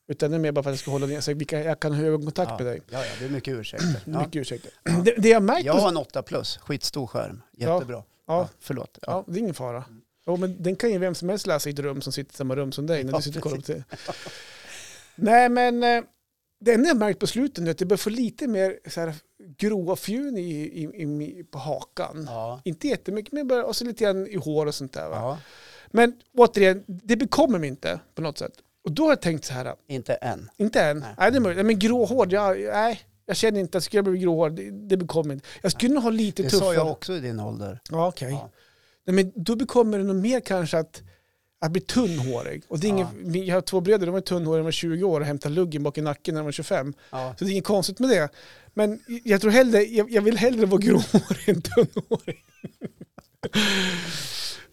S1: Utan det är mer bara för att jag ska hålla ner, så vi kan- jag kan ha ögonkontakt
S2: ja.
S1: med dig.
S2: Ja, ja, det är mycket
S1: [clears throat]
S2: ursäkter. Ja.
S1: Mycket ursäkter. Det, det jag märkt
S2: Jag
S1: på
S2: har en 8 plus, skitstor skärm, jättebra.
S1: Ja.
S2: Ja, förlåt. Ja.
S1: Ja, det är ingen fara. Ja, men den kan ju vem som helst läsa i ett rum som sitter i samma rum som dig när
S2: Ja,
S1: du sitter och kollar på det. Nej, men eh, det enda jag märkt på slutet nu är att det börjar få lite mer så här, gråa fjun i, i, i, på hakan.
S2: Ja.
S1: Inte jättemycket, men bara, och så lite grann i hår och sånt där. Va?
S2: Ja.
S1: Men återigen, det bekommer mig inte på något sätt. Och då har jag tänkt så här,
S2: Inte än.
S1: inte än. Nej,
S2: Nej.
S1: det är möjligt. Nej, Men gråhård, jag, nej. Jag känner inte att skulle jag bli gråhård, det, det bekommer inte. Jag skulle nog ha lite
S2: Det, sa
S1: tuffare.
S2: jag också i din ålder.
S1: Ja, okej.
S2: Ja.
S1: Nej, men då bekommer det nog mer kanske att, att bli tunnhårig. Och det är ingen, min- Jag har två bröder, de var tunnhåriga när de var 20 år och hämtade luggen bak i nacken när de var 25.
S2: Ja.
S1: Så det är inget konstigt med det. Men jag tror hellre, jag, jag vill hellre vara gråhårig än tunnhårig.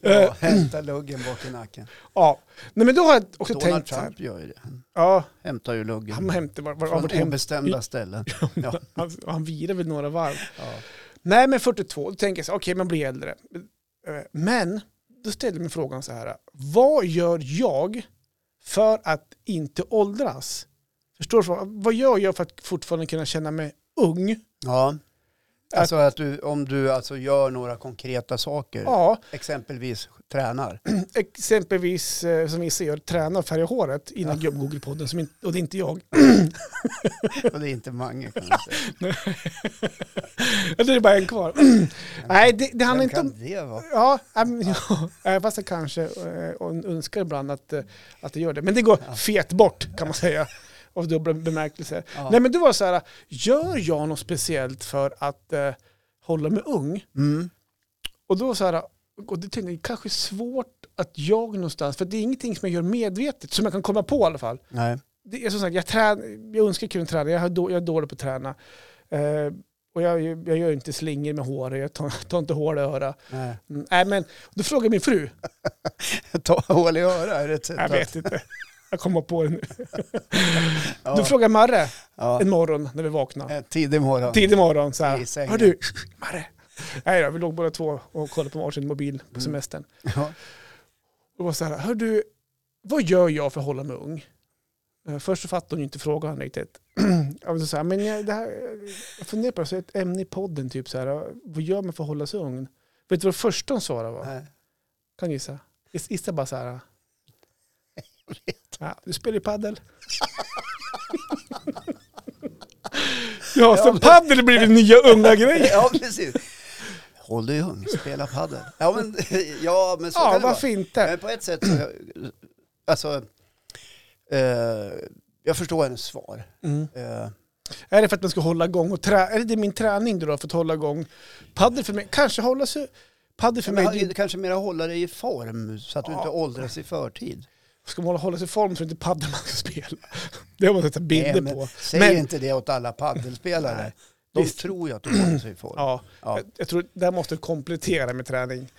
S2: Ja,
S1: Ja.
S2: hämta luggen bak i nacken.
S1: ja. Nej, men då har jag också
S2: Donald
S1: tänkt så här.
S2: Trump gör ju det. Han
S1: Ja,
S2: hämtar ju
S1: han
S2: luggen
S1: hämtar var, var, var,
S2: från
S1: hem, [laughs]
S2: obestämda ställen. Ja.
S1: han, han virar väl några varv.
S2: Ja.
S1: Nej, men 42, då tänker jag så här, okej, man blir äldre. Eh, Men då ställer jag mig frågan så här, vad gör jag för att inte åldras? Förstår du? frågan? Vad gör jag för att fortfarande kunna känna mig ung?
S2: ja. Alltså att du, om du alltså gör några konkreta saker,
S1: Ja,
S2: exempelvis tränar.
S1: exempelvis eh, som vissa gör, träna och färga håret innan Google-podden, som inte, och det är inte jag. [laughs]
S2: [laughs] Och det är inte Mange kan man säga.
S1: Eller det är bara en kvar. [clears throat] Nej, det, det handlar
S2: Vem
S1: inte om...
S2: kan det vara?
S1: Ja, äm, [laughs] ja, eh, fast jag kanske eh, och önskar ibland att, eh, att det gör det. Men det går fet bort kan man säga. Av dubbla bemärkelser.
S2: Ja.
S1: Nej men det var så här, gör jag något speciellt för att eh, hålla mig ung?
S2: Mm.
S1: Och då så här, och det tänkte jag, kanske svårt att jag någonstans, för det är ingenting som jag gör medvetet, som jag kan komma på i alla fall.
S2: Nej.
S1: Det är som sagt, jag, trän, jag önskar jag kunde träna, jag, har då, jag är dålig på att träna. Eh, och jag, jag gör inte slingor med håret, jag tar, tar inte hål i örat.
S2: Nej.
S1: Mm, Nej men, då frågar min fru,
S2: Ta hål i örat är det ett sätt
S1: jag
S2: att-
S1: vet inte. Jag kommer på det nu.
S2: Ja.
S1: Då frågar Marre
S2: Ja.
S1: en morgon när vi vaknade.
S2: Eh, Tidig morgon.
S1: tidig morgon så
S2: I
S1: här.
S2: sängen.
S1: Hör du, Marre. Nej då, vi låg båda två och kollade på varsin mobil
S2: Mm.
S1: på semestern.
S2: [laughs] Ja.
S1: Och det var så här, hör du, vad gör jag för att hålla mig ung? Eh, Först så fattade hon ju inte frågan riktigt. [clears throat] Jag var så här, men jag, det här, jag funderar på det, så ett ämne i podden, typ så här, vad gör man för att hålla sig ung? Vet du vad det första hon svarade var?
S2: Nej.
S1: Kan du gissa? Is- Gissa bara så
S2: [laughs]
S1: här. Ja, du spelar ju padel. [laughs] ja, så
S2: men-
S1: padel blir det nya
S2: [laughs]
S1: unga grejer.
S2: Ja, precis. Håll dig ung, spela padel. Ja, men, ja, men så
S1: Ja,
S2: kan det vara.
S1: varför inte?
S2: Men på ett sätt så, alltså, eh, jag förstår hennes svar.
S1: Mm.
S2: Eh,
S1: Är det för att man ska hålla igång? Och trä- är det det min träning då, då för att hålla igång? Padel för mig, kanske hålla sig... Padel för mig,
S2: men,
S1: det är ju-
S2: det kanske mera hålla dig i form så att du
S1: Ja.
S2: inte åldras i förtid.
S1: ska man hålla- hålla sig i form så är det inte padel man ska spela. [laughs] Det har man sett
S2: Nej,
S1: bilder
S2: men
S1: på.
S2: Säg
S1: Men-
S2: inte det åt alla paddelspelare.
S1: Nej,
S2: De
S1: visst.
S2: tror ju att de håller sig i form. Ja.
S1: Ja, jag, jag tror där måste jag komplettera med träning.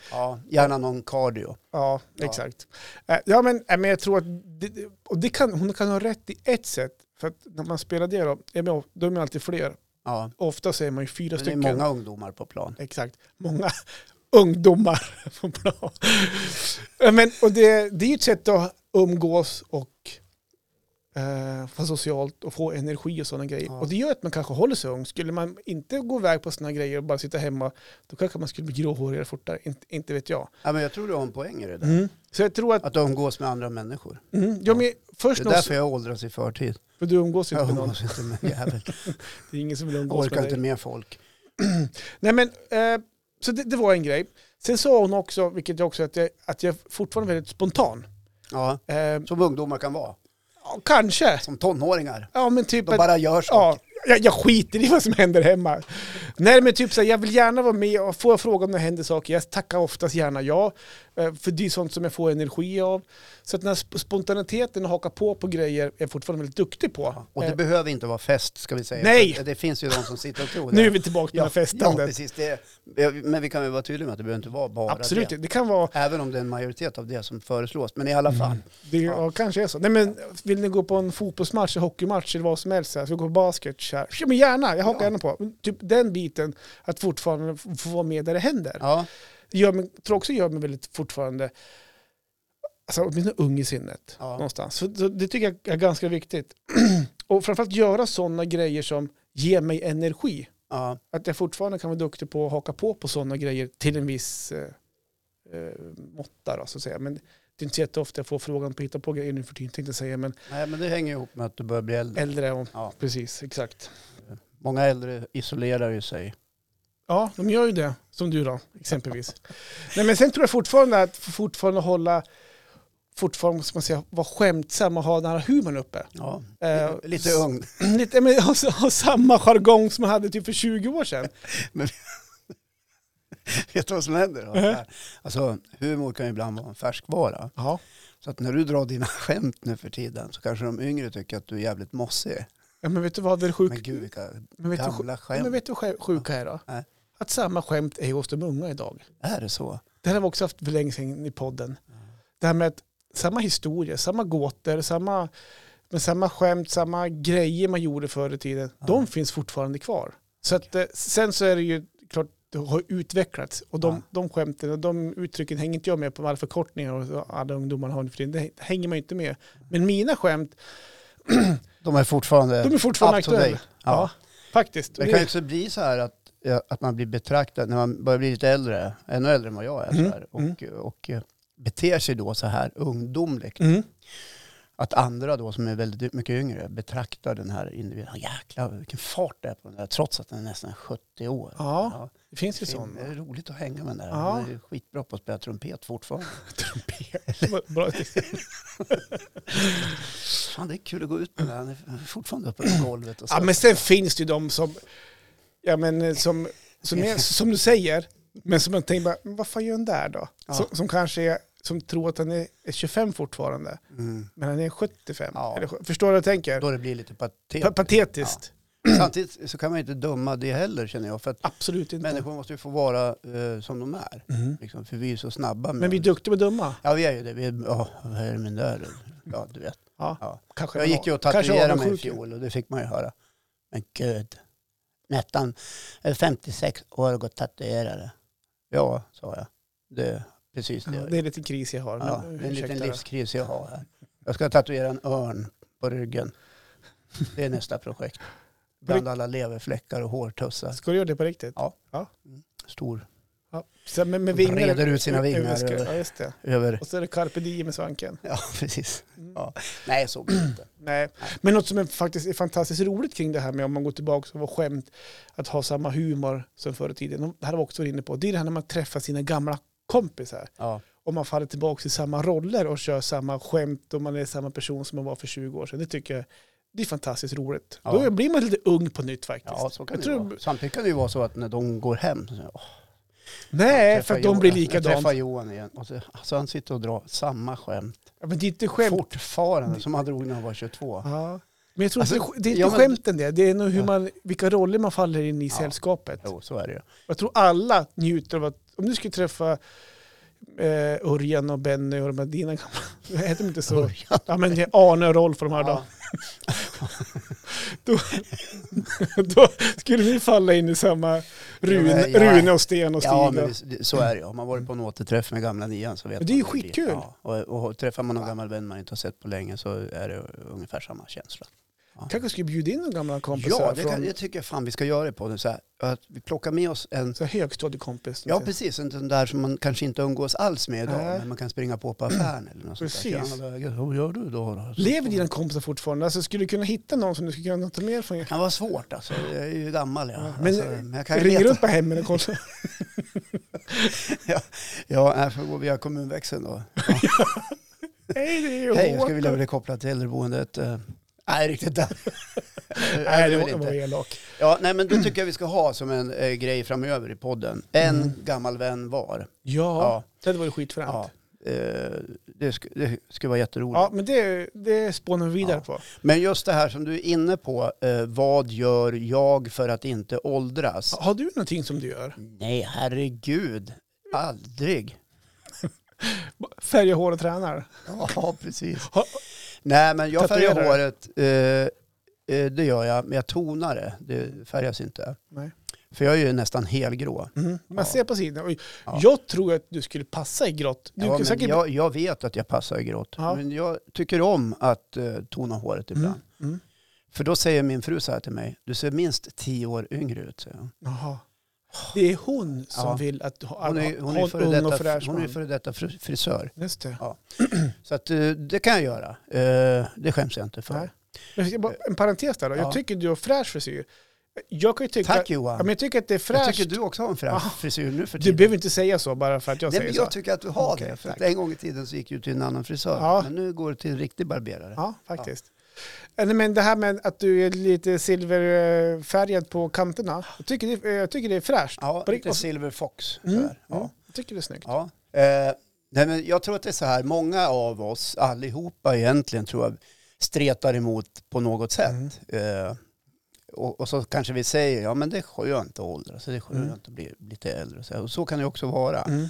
S2: gärna någon cardio.
S1: Ja,
S2: Ja.
S1: exakt. Eh, Ja, men, eh, men jag tror att det, det- och det kan, hon kan ha rätt i ett sätt. För att när man spelar det då, ja, men då är man alltid fler.
S2: Ja.
S1: Ofta så är man ju fyra
S2: Men Det är
S1: stycken.
S2: många ungdomar på plan.
S1: Exakt. Många [laughs] ungdomar [laughs] på plan. Eh, Men, och det, det är ju ett sätt att umgås och eh, vara socialt och få energi och sådana grejer.
S2: Ja.
S1: Och det gör att man kanske håller sig ung. Skulle man inte gå iväg på sådana grejer och bara sitta hemma, då kanske man skulle bli gråhårigare fortare. Inte, inte vet jag.
S2: Ja, men jag tror du har en poäng i det där.
S1: Mm. Så jag tror att
S2: Att umgås med andra människor.
S1: Mm, ja, men
S2: Det
S1: först
S2: är
S1: någon,
S2: därför jag åldras i förtid.
S1: för du umgås inte
S2: Jag
S1: med någon.
S2: umgås inte med en
S1: [laughs]
S2: jävel.
S1: Det är ingen som vill
S2: Jag
S1: umgås
S2: orkar
S1: med
S2: inte
S1: dig.
S2: med folk.
S1: Nej, men, eh, så det, det var en grej. Sen sa hon också, vilket jag också, att jag, att jag fortfarande är väldigt spontan.
S2: Ja.
S1: Eh,
S2: Som ungdomar kan vara.
S1: ja, kanske.
S2: Som tonåringar.
S1: Ja, men typ
S2: De
S1: att,
S2: bara gör
S1: ja,
S2: saker.
S1: jag, jag skiter i vad som händer hemma. Nej, men typ så här, jag vill gärna vara med och får jag fråga om det händer saker, jag tackar oftast gärna ja. Eh, För det är sånt som jag får energi av. Så att den här sp- spontaniteten och haka på på grejer är jag fortfarande väldigt duktig på.
S2: Och det
S1: Eh,
S2: behöver inte vara fest ska vi säga.
S1: Nej!
S2: För Det finns ju de som sitter och tror det.
S1: nu är vi tillbaka på det
S2: ja,
S1: här festandet.
S2: Ja, precis. Det, men vi kan väl vara tydliga med att det behöver inte vara bara
S1: Absolut,
S2: det.
S1: det kan vara
S2: Även om det är en majoritet av det som föreslås. Men i
S1: Mm.
S2: alla fall.
S1: Det ja. kanske är så. Nej, men vill ni gå på en fotbollsmatch, en hockeymatch eller vad som helst? Så här, ska vi gå på basket? Så här. Ja, men gärna, jag hakar
S2: Ja.
S1: gärna på. Men Typ den biten, att fortfarande f- få vara med där det händer.
S2: Ja,
S1: Det gör mig, tror också gör mig väldigt fortfarande, alltså åtminstone ung i sinnet.
S2: Ja.
S1: Någonstans. Så, så det tycker jag är ganska viktigt. [clears throat] Och framförallt göra sådana grejer som ger mig energi.
S2: ja,
S1: Att jag fortfarande kan vara duktig på att haka på på sådana grejer till en viss eh, eh, måtta. Då, så att säga. Men det är inte så jätteofta jag får frågan på att hitta på grejer nu för tiden tänkte jag säga. Men
S2: nej, men det hänger ihop med att du börjar bli äldre.
S1: äldre, och,
S2: Mm. Ja.
S1: precis, exakt.
S2: Många äldre isolerar ju sig.
S1: Ja, de gör ju det. Som du då, exempelvis.
S2: [laughs]
S1: Nej, men sen tror jag fortfarande att fortfarande hålla, fortfarande ska man säga, vara skämtsam och ha den här humorn uppe.
S2: Ja.
S1: Eh,
S2: Lite
S1: s-
S2: ung.
S1: [clears throat]
S2: [laughs]
S1: Lite, men, ha, ha samma jargong som man hade typ för 20 år sedan.
S2: Vet du vad som händer?
S1: Eh.
S2: Då? Alltså, humor kan ju ibland vara en färskvara.
S1: Ja.
S2: Så att när du drar dina [laughs] skämt nu för tiden så kanske de yngre tycker att du är jävligt mossig.
S1: Men vet du vad, det är sjukt.
S2: Men gud vilka
S1: Men vet du,
S2: gamla
S1: Ja,
S2: skämt.
S1: Men vet du vad sjuka är då?
S2: Nej.
S1: Att samma skämt är hos de unga idag.
S2: Är det så?
S1: Det här har vi också haft för länge sedan i podden. Det här med att samma historia, samma gåtor, samma, men samma skämt, samma grejer man gjorde förr i tiden.
S2: Ja.
S1: De finns fortfarande kvar. Så att, eh, sen så är det ju klart, det har utvecklats. Och de,
S2: Ja.
S1: de skämten och de uttrycken hänger inte jag med på. Alla förkortningar och så alla ungdomar har nu för tiden. Det hänger man ju inte med. Men mina skämt,
S2: De är fortfarande
S1: de är fortfarande
S2: up to
S1: aktuella.
S2: date.
S1: Ja.
S2: Ja.
S1: faktiskt.
S2: Det kan ju också bli så här att, eh, att man blir betraktad när man börjar bli lite äldre, ännu äldre än vad jag är, så
S1: Mm,
S2: här, och, och eh, beter sig då så här ungdomligt.
S1: Mm.
S2: Att andra då som är väldigt mycket yngre betraktar den här individen, "Ja, jäklar vilken fart det är på den där, trots att den är nästan 70 år.
S1: Ja, det finns ju
S2: fin-
S1: sådana.
S2: Det är roligt att hänga med den där.
S1: Ja.
S2: Han är ju skitbra på att spela trumpet fortfarande.
S1: [laughs] Trumpet. Bra.
S2: Fan, det är kul att gå ut med den. Han är fortfarande uppe
S1: Mm.
S2: på golvet. Och så.
S1: Ja, men sen finns det ju de som, ja, men, eh, som, som, är, som du säger, Men som man tänker bara, "Men vad fan gör han där då?
S2: Ja.
S1: Som, som kanske är, som tror att han är är 25 fortfarande,
S2: Mm.
S1: men han är 75.
S2: Ja.
S1: Eller, sj- förstår du vad jag tänker?
S2: Då det blir lite
S1: Pa-
S2: patetiskt.
S1: patetiskt. [clears throat]
S2: Samtidigt så kan man ju inte döma det heller känner jag. För att
S1: Absolut inte.
S2: människor måste ju få vara eh, som de är.
S1: Mhm.
S2: Liksom, för vi är ju så snabba. Med
S1: Men vi är duktiga på att döma.
S2: Ja, vi är ju det. Vi är, ja, vad är det med den där? Ja, du vet.
S1: Ja.
S2: Ja.
S1: Kanske
S2: Jag
S1: man
S2: gick ju och
S1: har- kanske
S2: tatuerade mig i
S1: avundsjuk.
S2: fjol och det fick man ju höra. Men gud, nästan eh, 56 år och gått tatuerare. Ja, sa jag. Det är precis det.
S1: Ja,
S2: jag
S1: det är lite kris jag har.
S2: Ja,
S1: men
S2: det är en
S1: ursäkta
S2: liten
S1: då.
S2: livskris jag har här. Jag ska tatuera en örn på ryggen. Det är nästa projekt. Bland alla leverfläckar och hårtussar.
S1: Ska du göra det på riktigt?
S2: Stor.
S1: Ja. Så med, med
S2: Breder
S1: vingar.
S2: ut sina vingar
S1: Ja, just det.
S2: över-
S1: Ja, just det.
S2: Över.
S1: Och så är det carpe diem i svanken. [laughs]
S2: Ja, precis.
S1: Mm.
S2: Ja. Nej, så blir det inte.
S1: Nej. Men något som är faktiskt är fantastiskt roligt kring det här med om man går tillbaka och var skämt att ha samma humor som förr i tiden. Det här var också inne på. Det är det här när man träffar sina gamla kompisar.
S2: Ja.
S1: Om man faller tillbaka i samma roller och kör samma skämt och man är samma person som man var för 20 år sedan. Det tycker jag det är fantastiskt roligt.
S2: Ja.
S1: Då blir man lite ung på nytt faktiskt.
S2: ja, så kan
S1: jag
S2: det ju
S1: tror,
S2: vara. Samtidigt kan det ju vara så att när de går hem så säger jag, "Åh,
S1: Nej,
S2: träffa
S1: för att de blir
S2: Johan." Jag
S1: likadant.
S2: träffar Johan igen. Och så, alltså han sitter och drar samma skämt.
S1: Ja, men det är inte skämt.
S2: Fortfarande, som han drog när han var 22.
S1: Ja. Men jag tror
S2: Alltså,
S1: inte, det är inte
S2: ja, men-
S1: skämten det. Det är nog hur
S2: Ja.
S1: man, vilka roller man faller in i
S2: Ja.
S1: sällskapet.
S2: Jo, så är det ju.
S1: Jag tror alla njuter av att, om du skulle träffa eh, Örjan och Benny och de här dina gamla, [laughs] heter de inte så?
S2: Örjan.
S1: Ja men det är Arne och Rolf och de här då.
S2: Ja.
S1: Då [laughs] skulle vi falla in i samma Rune,
S2: Ja, men, ja.
S1: Rune och Sten och Stig.
S2: Ja,
S1: och-
S2: men det- så är det ju. Har man varit på en återträff med gamla nian så vet
S1: Men det är
S2: man
S1: ju
S2: hur blir.
S1: skitkul.
S2: Ja, och, och träffar man någon gammal vän man inte har sett på länge så är det ungefär samma känsla.
S1: Kanske skulle bjuda in några gamla kompisar
S2: Ja, det,
S1: från
S2: kan, det tycker jag fan vi ska göra på nu. Så här, att vi plockar med oss en...
S1: så här högstadiekompis.
S2: Ja, precis. En sån där som man kanske inte umgås alls med idag,
S1: Nej.
S2: men man kan springa på på affären eller något sånt där.
S1: Precis.
S2: Tjena, läget? Hur gör du då? då?
S1: Lever dina kompisar fortfarande? Alltså, skulle du kunna hitta någon som du skulle kunna ta med från?
S2: Det kan vara svårt alltså. Jag är ju gammal jag.
S1: Ja, men-
S2: Men, alltså, men jag kan ju
S1: Ring
S2: leta.
S1: runt på hemmen och kolla. [laughs]
S2: Ja, här får vi gå via kommunväxeln då.
S1: Hej, det är ju
S2: Hej, jag
S1: Håkan.
S2: skulle vilja bli kopplad till äldreboendet. eh. Nej, riktigt där.
S1: [laughs] Nej, det
S2: vill
S1: var,
S2: inte.
S1: var elak.
S2: Ja, nej, men det tycker jag vi ska ha som en eh, grej framöver i podden. En
S1: Mm.
S2: gammal vän var.
S1: Ja,
S2: Ja.
S1: det hade varit skitfränt.
S2: Ja.
S1: Ja.
S2: Eh, det, sk- det skulle vara jätteroligt.
S1: men det, det spånar vi vidare
S2: Ja.
S1: på.
S2: Men just det här som du är inne på, eh, vad gör jag för att inte åldras?
S1: Har du någonting som du gör?
S2: Nej, herregud, aldrig.
S1: Färgar hår och tränar?
S2: Ja, precis.
S1: Ha-
S2: Nej, men jag färgar
S1: Tatuerar.
S2: håret, eh, eh, det gör jag, men jag tonar det. Det färgas inte.
S1: Nej.
S2: För jag är ju nästan helgrå.
S1: Mm. Man
S2: Ja.
S1: ser på sidan. Och
S2: Ja.
S1: Jag tror att du skulle passa i grått. Du
S2: ja,
S1: kan
S2: men
S1: säkert...
S2: jag, jag vet att jag passar i grått,
S1: Ja.
S2: men jag tycker om att eh, tona håret ibland.
S1: Mm. Mm.
S2: För då säger min fru så här till mig, du ser minst tio år yngre ut. Säger hon.
S1: Jaha. Det är hon som
S2: Ja.
S1: vill att du har
S2: Hon är, hon är
S1: ha en
S2: före
S1: ung och
S2: detta,
S1: fräsch
S2: hon är
S1: man.
S2: före detta fri- frisör.
S1: Just det.
S2: Så att, eh, det kan jag göra. Eh, det skäms jag inte för.
S1: Nej. Men jag ska bara- En parentes där då. Jag
S2: Ja.
S1: tycker du har fräsch frisyr. Jag kan ju tycka...
S2: Tack
S1: Ja,
S2: Johan.
S1: men jag tycker att det är
S2: jag
S1: fräscht.
S2: tycker du också har en fräsch
S1: Ah.
S2: frisyr nu för
S1: Du
S2: tiden.
S1: behöver inte säga så bara för att jag
S2: Nej,
S1: säger
S2: men
S1: så.
S2: jag tycker att du har
S1: Okej,
S2: det. För
S1: tack.
S2: att en gång i tiden så gick du till en annan frisör.
S1: Ja.
S2: Men nu går du till en riktig barberare.
S1: Ja, faktiskt. Eh, nej, Men det här med att du är lite silverfärgad på kanterna. Jag tycker det, eh, jag tycker det är fräscht.
S2: Ja,
S1: På
S2: lite
S1: riktigt.
S2: Silver Fox.
S1: Mm.
S2: sådär.
S1: Mm.
S2: Ja.
S1: Jag tycker det är snyggt.
S2: Ja. Eh, nej, men jag tror att det är så här, många av oss, allihopa egentligen, tror jag, stretar emot på något sätt.
S1: Mm.
S2: Eh, och, och så kanske vi säger, ja men det är skönt att åldras, det är skönt
S1: Mm.
S2: att bli lite äldre. Och så, här. och så kan det också vara.
S1: Mm.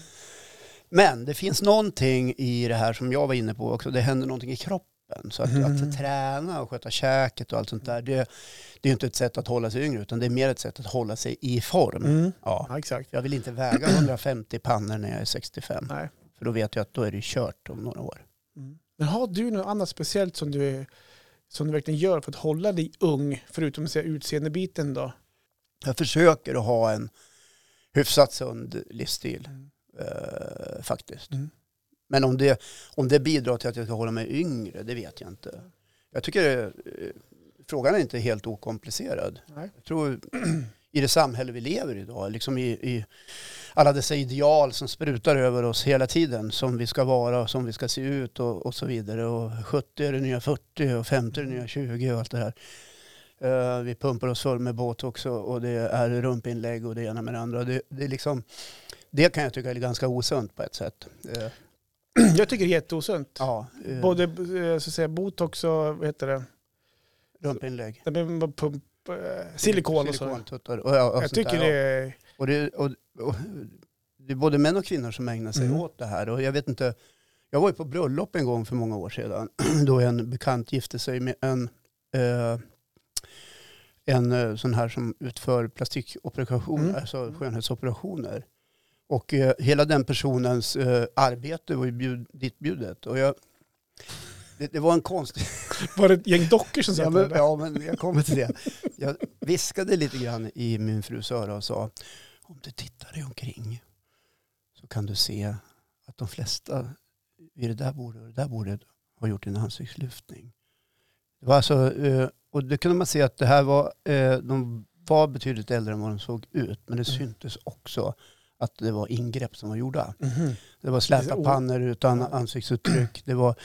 S2: Men det finns någonting i det här som jag var inne på också, det händer någonting i kroppen. Så att,
S1: Mhm.
S2: att träna och sköta käket och allt sånt där, det, det är ju inte ett sätt att hålla sig yngre, utan det är mer ett sätt att hålla sig i form.
S1: Mm.
S2: Ja.
S1: Ja, exakt.
S2: Jag vill inte väga 150 pannor när jag är 65.
S1: Nej.
S2: För då vet jag att då är det kört om några år.
S1: Mm. Men har du något annat speciellt som du, är, som du verkligen gör för att hålla dig ung, förutom att säga utseendebiten då?
S2: Jag försöker att ha en hyfsat sund livsstil eh, faktiskt.
S1: Mm.
S2: Men om det, om det bidrar till att jag ska hålla mig yngre, det vet jag inte. Jag tycker eh, frågan är inte helt okomplicerad.
S1: Nej.
S2: Jag tror [clears throat] i det samhälle vi lever i idag, liksom i, i alla dessa ideal som sprutar över oss hela tiden, som vi ska vara och som vi ska se ut och, och så vidare. Och 70 är det nya 40 och 50 är det nya 20 och allt det här. Eh, vi pumpar oss full med båt också och det är rumpinlägg och det ena med det andra. Det, det, är liksom, det kan jag tycka är ganska osunt på ett sätt. Eh,
S1: Jag tycker det är jätteosunt.
S2: ja, eh,
S1: Både eh, så att säga, botox och vad heter det?
S2: rumpinlägg.
S1: Nej, men vad pump, eh, silikon och så.
S2: Silikontuttar och, och, och
S1: Jag
S2: sånt
S1: tycker
S2: där.
S1: det är...
S2: Och det, och, och, det är både män och kvinnor som ägnar sig
S1: Mm.
S2: åt det här. Och jag vet inte, jag var ju på bröllop en gång för många år sedan [clears throat] då en bekant gifte sig med en, eh, en eh, sån här som utför plastikoperationer,
S1: Mm.
S2: alltså skönhetsoperationer. Och eh, hela den personens eh, arbete var ju bjud, dit bjudet. Och jag, det, det var en konstig...
S1: Var det ett gäng dockor som
S2: Ja
S1: satt
S2: men,
S1: där?
S2: ja, men jag kommer till det. Jag viskade lite grann i min frus öra och sa, om du tittar dig omkring så kan du se att de flesta vid det där bordet och det där bordet har gjort en ansiktslyftning. Det var alltså, eh, och då kunde man se att det här var, eh, de var betydligt äldre än vad de såg ut, men det
S1: Mm.
S2: syntes också att det var ingrepp som var gjorda.
S1: Mhm.
S2: Det var
S1: Det är
S2: släta
S1: o-
S2: pannor utan ansiktsuttryck. Det var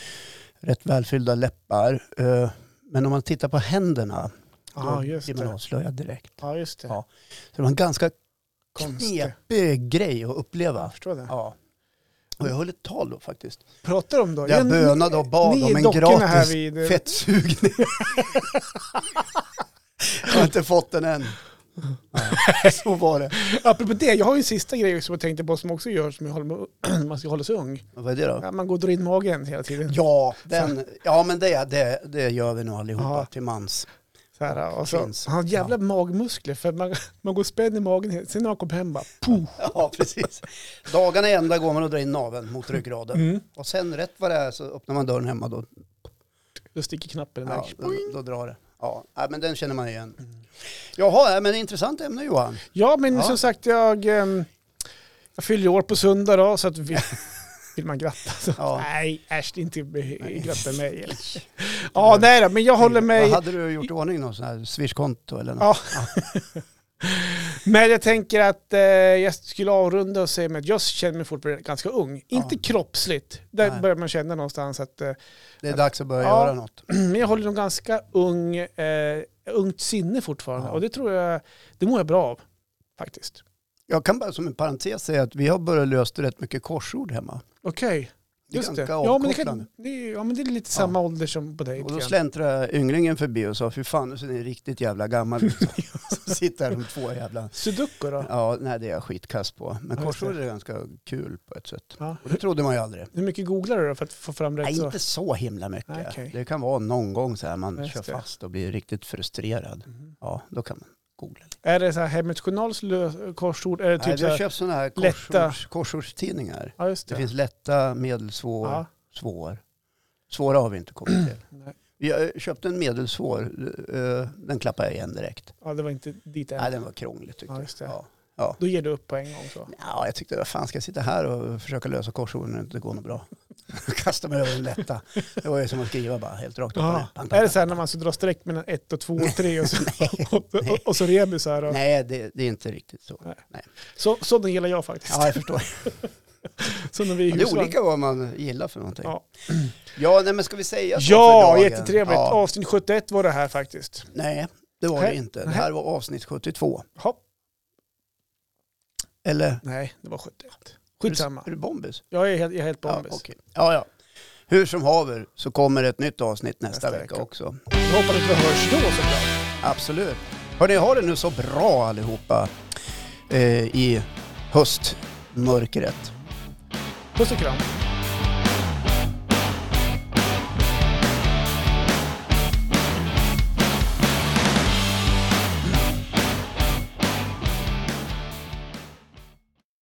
S2: rätt välfyllda läppar. Eh, Men om man tittar på händerna, då
S1: Ja, Ah, just
S2: blir man
S1: det.
S2: avslöjad direkt.
S1: Ja, just det.
S2: Ja. Så det var en ganska
S1: Konstigt.
S2: knepig grej att
S1: Jag
S2: uppleva.
S1: förstår det.
S2: Ja. Och jag höll ett tal då faktiskt.
S1: Pratar de då?
S2: Där jag
S1: ni-
S2: bönade och bad
S1: ni
S2: om en
S1: dockorna
S2: gratis
S1: här vid- eh.
S2: fettsugning. jag har inte fått den än. Nej, så var det.
S1: [laughs] Apropå det, jag har ju en sista grej som jag tänkte på som också gör som jag håller med, [clears throat] man ska hålla sig ung.
S2: Vad är det då?
S1: Ja, man går och drar in magen hela tiden.
S2: Ja, den, ja men det, det, det gör vi nog allihopa
S1: Ja.
S2: till mans.
S1: Så här, och så,
S2: Finns.
S1: han har jävla magmuskler för man, man går spänd i magen. hela- Sen när man kommer hem bara poff.
S2: [laughs] Ja, precis. Dagarna i ända går man och drar in naveln mot ryggraden.
S1: Mm.
S2: Och sen rätt vad det är så öppnar man dörren hemma då,
S1: Då sticker knappen
S2: ja,
S1: iväg.
S2: då, då drar det. Ja, nej, men den känner man igen. Jaha, nej, men intressant ämne Johan.
S1: Ja, men
S2: Ja.
S1: som sagt, jag, ehm, jag fyller ju år på söndag då, så att
S2: [laughs]
S1: vi, vill man gratta så
S2: Ja.
S1: nej, äsch, inte be- gratta mig.
S2: [laughs] var-
S1: ja, nej då, men jag håller
S2: Vad
S1: mig.
S2: hade du gjort i ordning någon sån här swishkonto eller något?
S1: Ja. Men jag tänker att eh, jag skulle avrunda och säga med att jag känner mig fortfarande ganska ung.
S2: Ja.
S1: Inte kroppsligt, där
S2: Nej.
S1: börjar man känna någonstans att eh,
S2: Det är dags att börja
S1: Ja.
S2: göra något.
S1: [clears throat] Men jag håller nog ganska ung, eh, ungt sinne fortfarande.
S2: Ja.
S1: Och det tror jag, det mår jag bra av faktiskt.
S2: Jag kan bara som en parentes säga att vi har börjat lösa rätt mycket korsord hemma.
S1: Okej,
S2: Det är
S1: just det.
S2: ganska
S1: Ja men det,
S2: avkopplande.
S1: kan, det, är- ja, men det är lite samma ålder som på dig.
S2: Och då
S1: lite grann.
S2: släntrade ynglingen förbi och sa, fy fan, du ser ni riktigt jävla
S1: [laughs]
S2: gammal ut. Så sitter här de två jävla
S1: Sudoku då?
S2: Ja, nej det är jag skitkast på. Men
S1: Ja, just
S2: korsord är ganska kul på ett sätt.
S1: Ja.
S2: Och det trodde man ju aldrig.
S1: Hur mycket googlar du då för att få fram rätt
S2: Nej,
S1: svar?
S2: inte så himla
S1: Nej,
S2: mycket.
S1: okej.
S2: Det kan vara någon gång så här man
S1: Just
S2: kör
S1: det.
S2: fast och blir riktigt frustrerad.
S1: Mhm.
S2: Ja, då kan man googla. lite.
S1: Är det så här Hemmets Journals lö- korsord? Är det
S2: nej,
S1: typ
S2: vi
S1: så
S2: har
S1: här,
S2: köpt sådana här
S1: lätta-
S2: korsords, korsordstidningar.
S1: ja just
S2: Det
S1: det.
S2: finns lätta, medelsvår,
S1: ja.
S2: svår. Svåra har vi inte kommit till.
S1: Nej.
S2: Jag eh, köpte en medelsvår, eh, den klappade jag igen direkt.
S1: ja, det var inte dit
S2: Nej,
S1: än.
S2: den var krånglig tyckte
S1: Ja, just det.
S2: jag. Ja.
S1: Då ger du upp på en gång så.
S2: Ja, jag tyckte, vad fan ska jag sitta här och försöka lösa korsorden när det inte går något bra? [laughs] Kasta mig över den lätta. Det var ju som att skriva bara helt rakt upp och ner.
S1: Ja.
S2: Pang, pang,
S1: Är det
S2: pang.
S1: så här när man så drar streck mellan ett och två och tre och
S2: [laughs]
S1: så, och, och, och så rebusar? Och,
S2: Nej, det, det är inte riktigt så.
S1: så, sådana gillar jag faktiskt.
S2: Ja, jag förstår.
S1: Så när vi är i
S2: Det är
S1: husvagn.
S2: olika vad man gillar för någonting. Ja,
S1: Ja.
S2: nej, men ska vi säga så för
S1: Ja,
S2: dagen?
S1: jättetrevligt.
S2: Ja.
S1: Avsnitt 71 var det här faktiskt.
S2: Nej, det var det
S1: Nej.
S2: inte. Det här var avsnitt 72.
S1: Hopp.
S2: Eller?
S1: Nej, det var 71. Skitsamma.
S2: Är du bombis?
S1: Jag är helt, jag är helt bombis.
S2: Ja, okej. ja, ja. Hur som haver så kommer ett nytt avsnitt nästa,
S1: Nästa
S2: vecka
S1: vecka.
S2: också.
S1: Jag hoppas att vi hörs då såklart.
S2: Absolut. Hörni, ha det nu så bra allihopa eh, i höstmörkret.
S1: Puss och kram.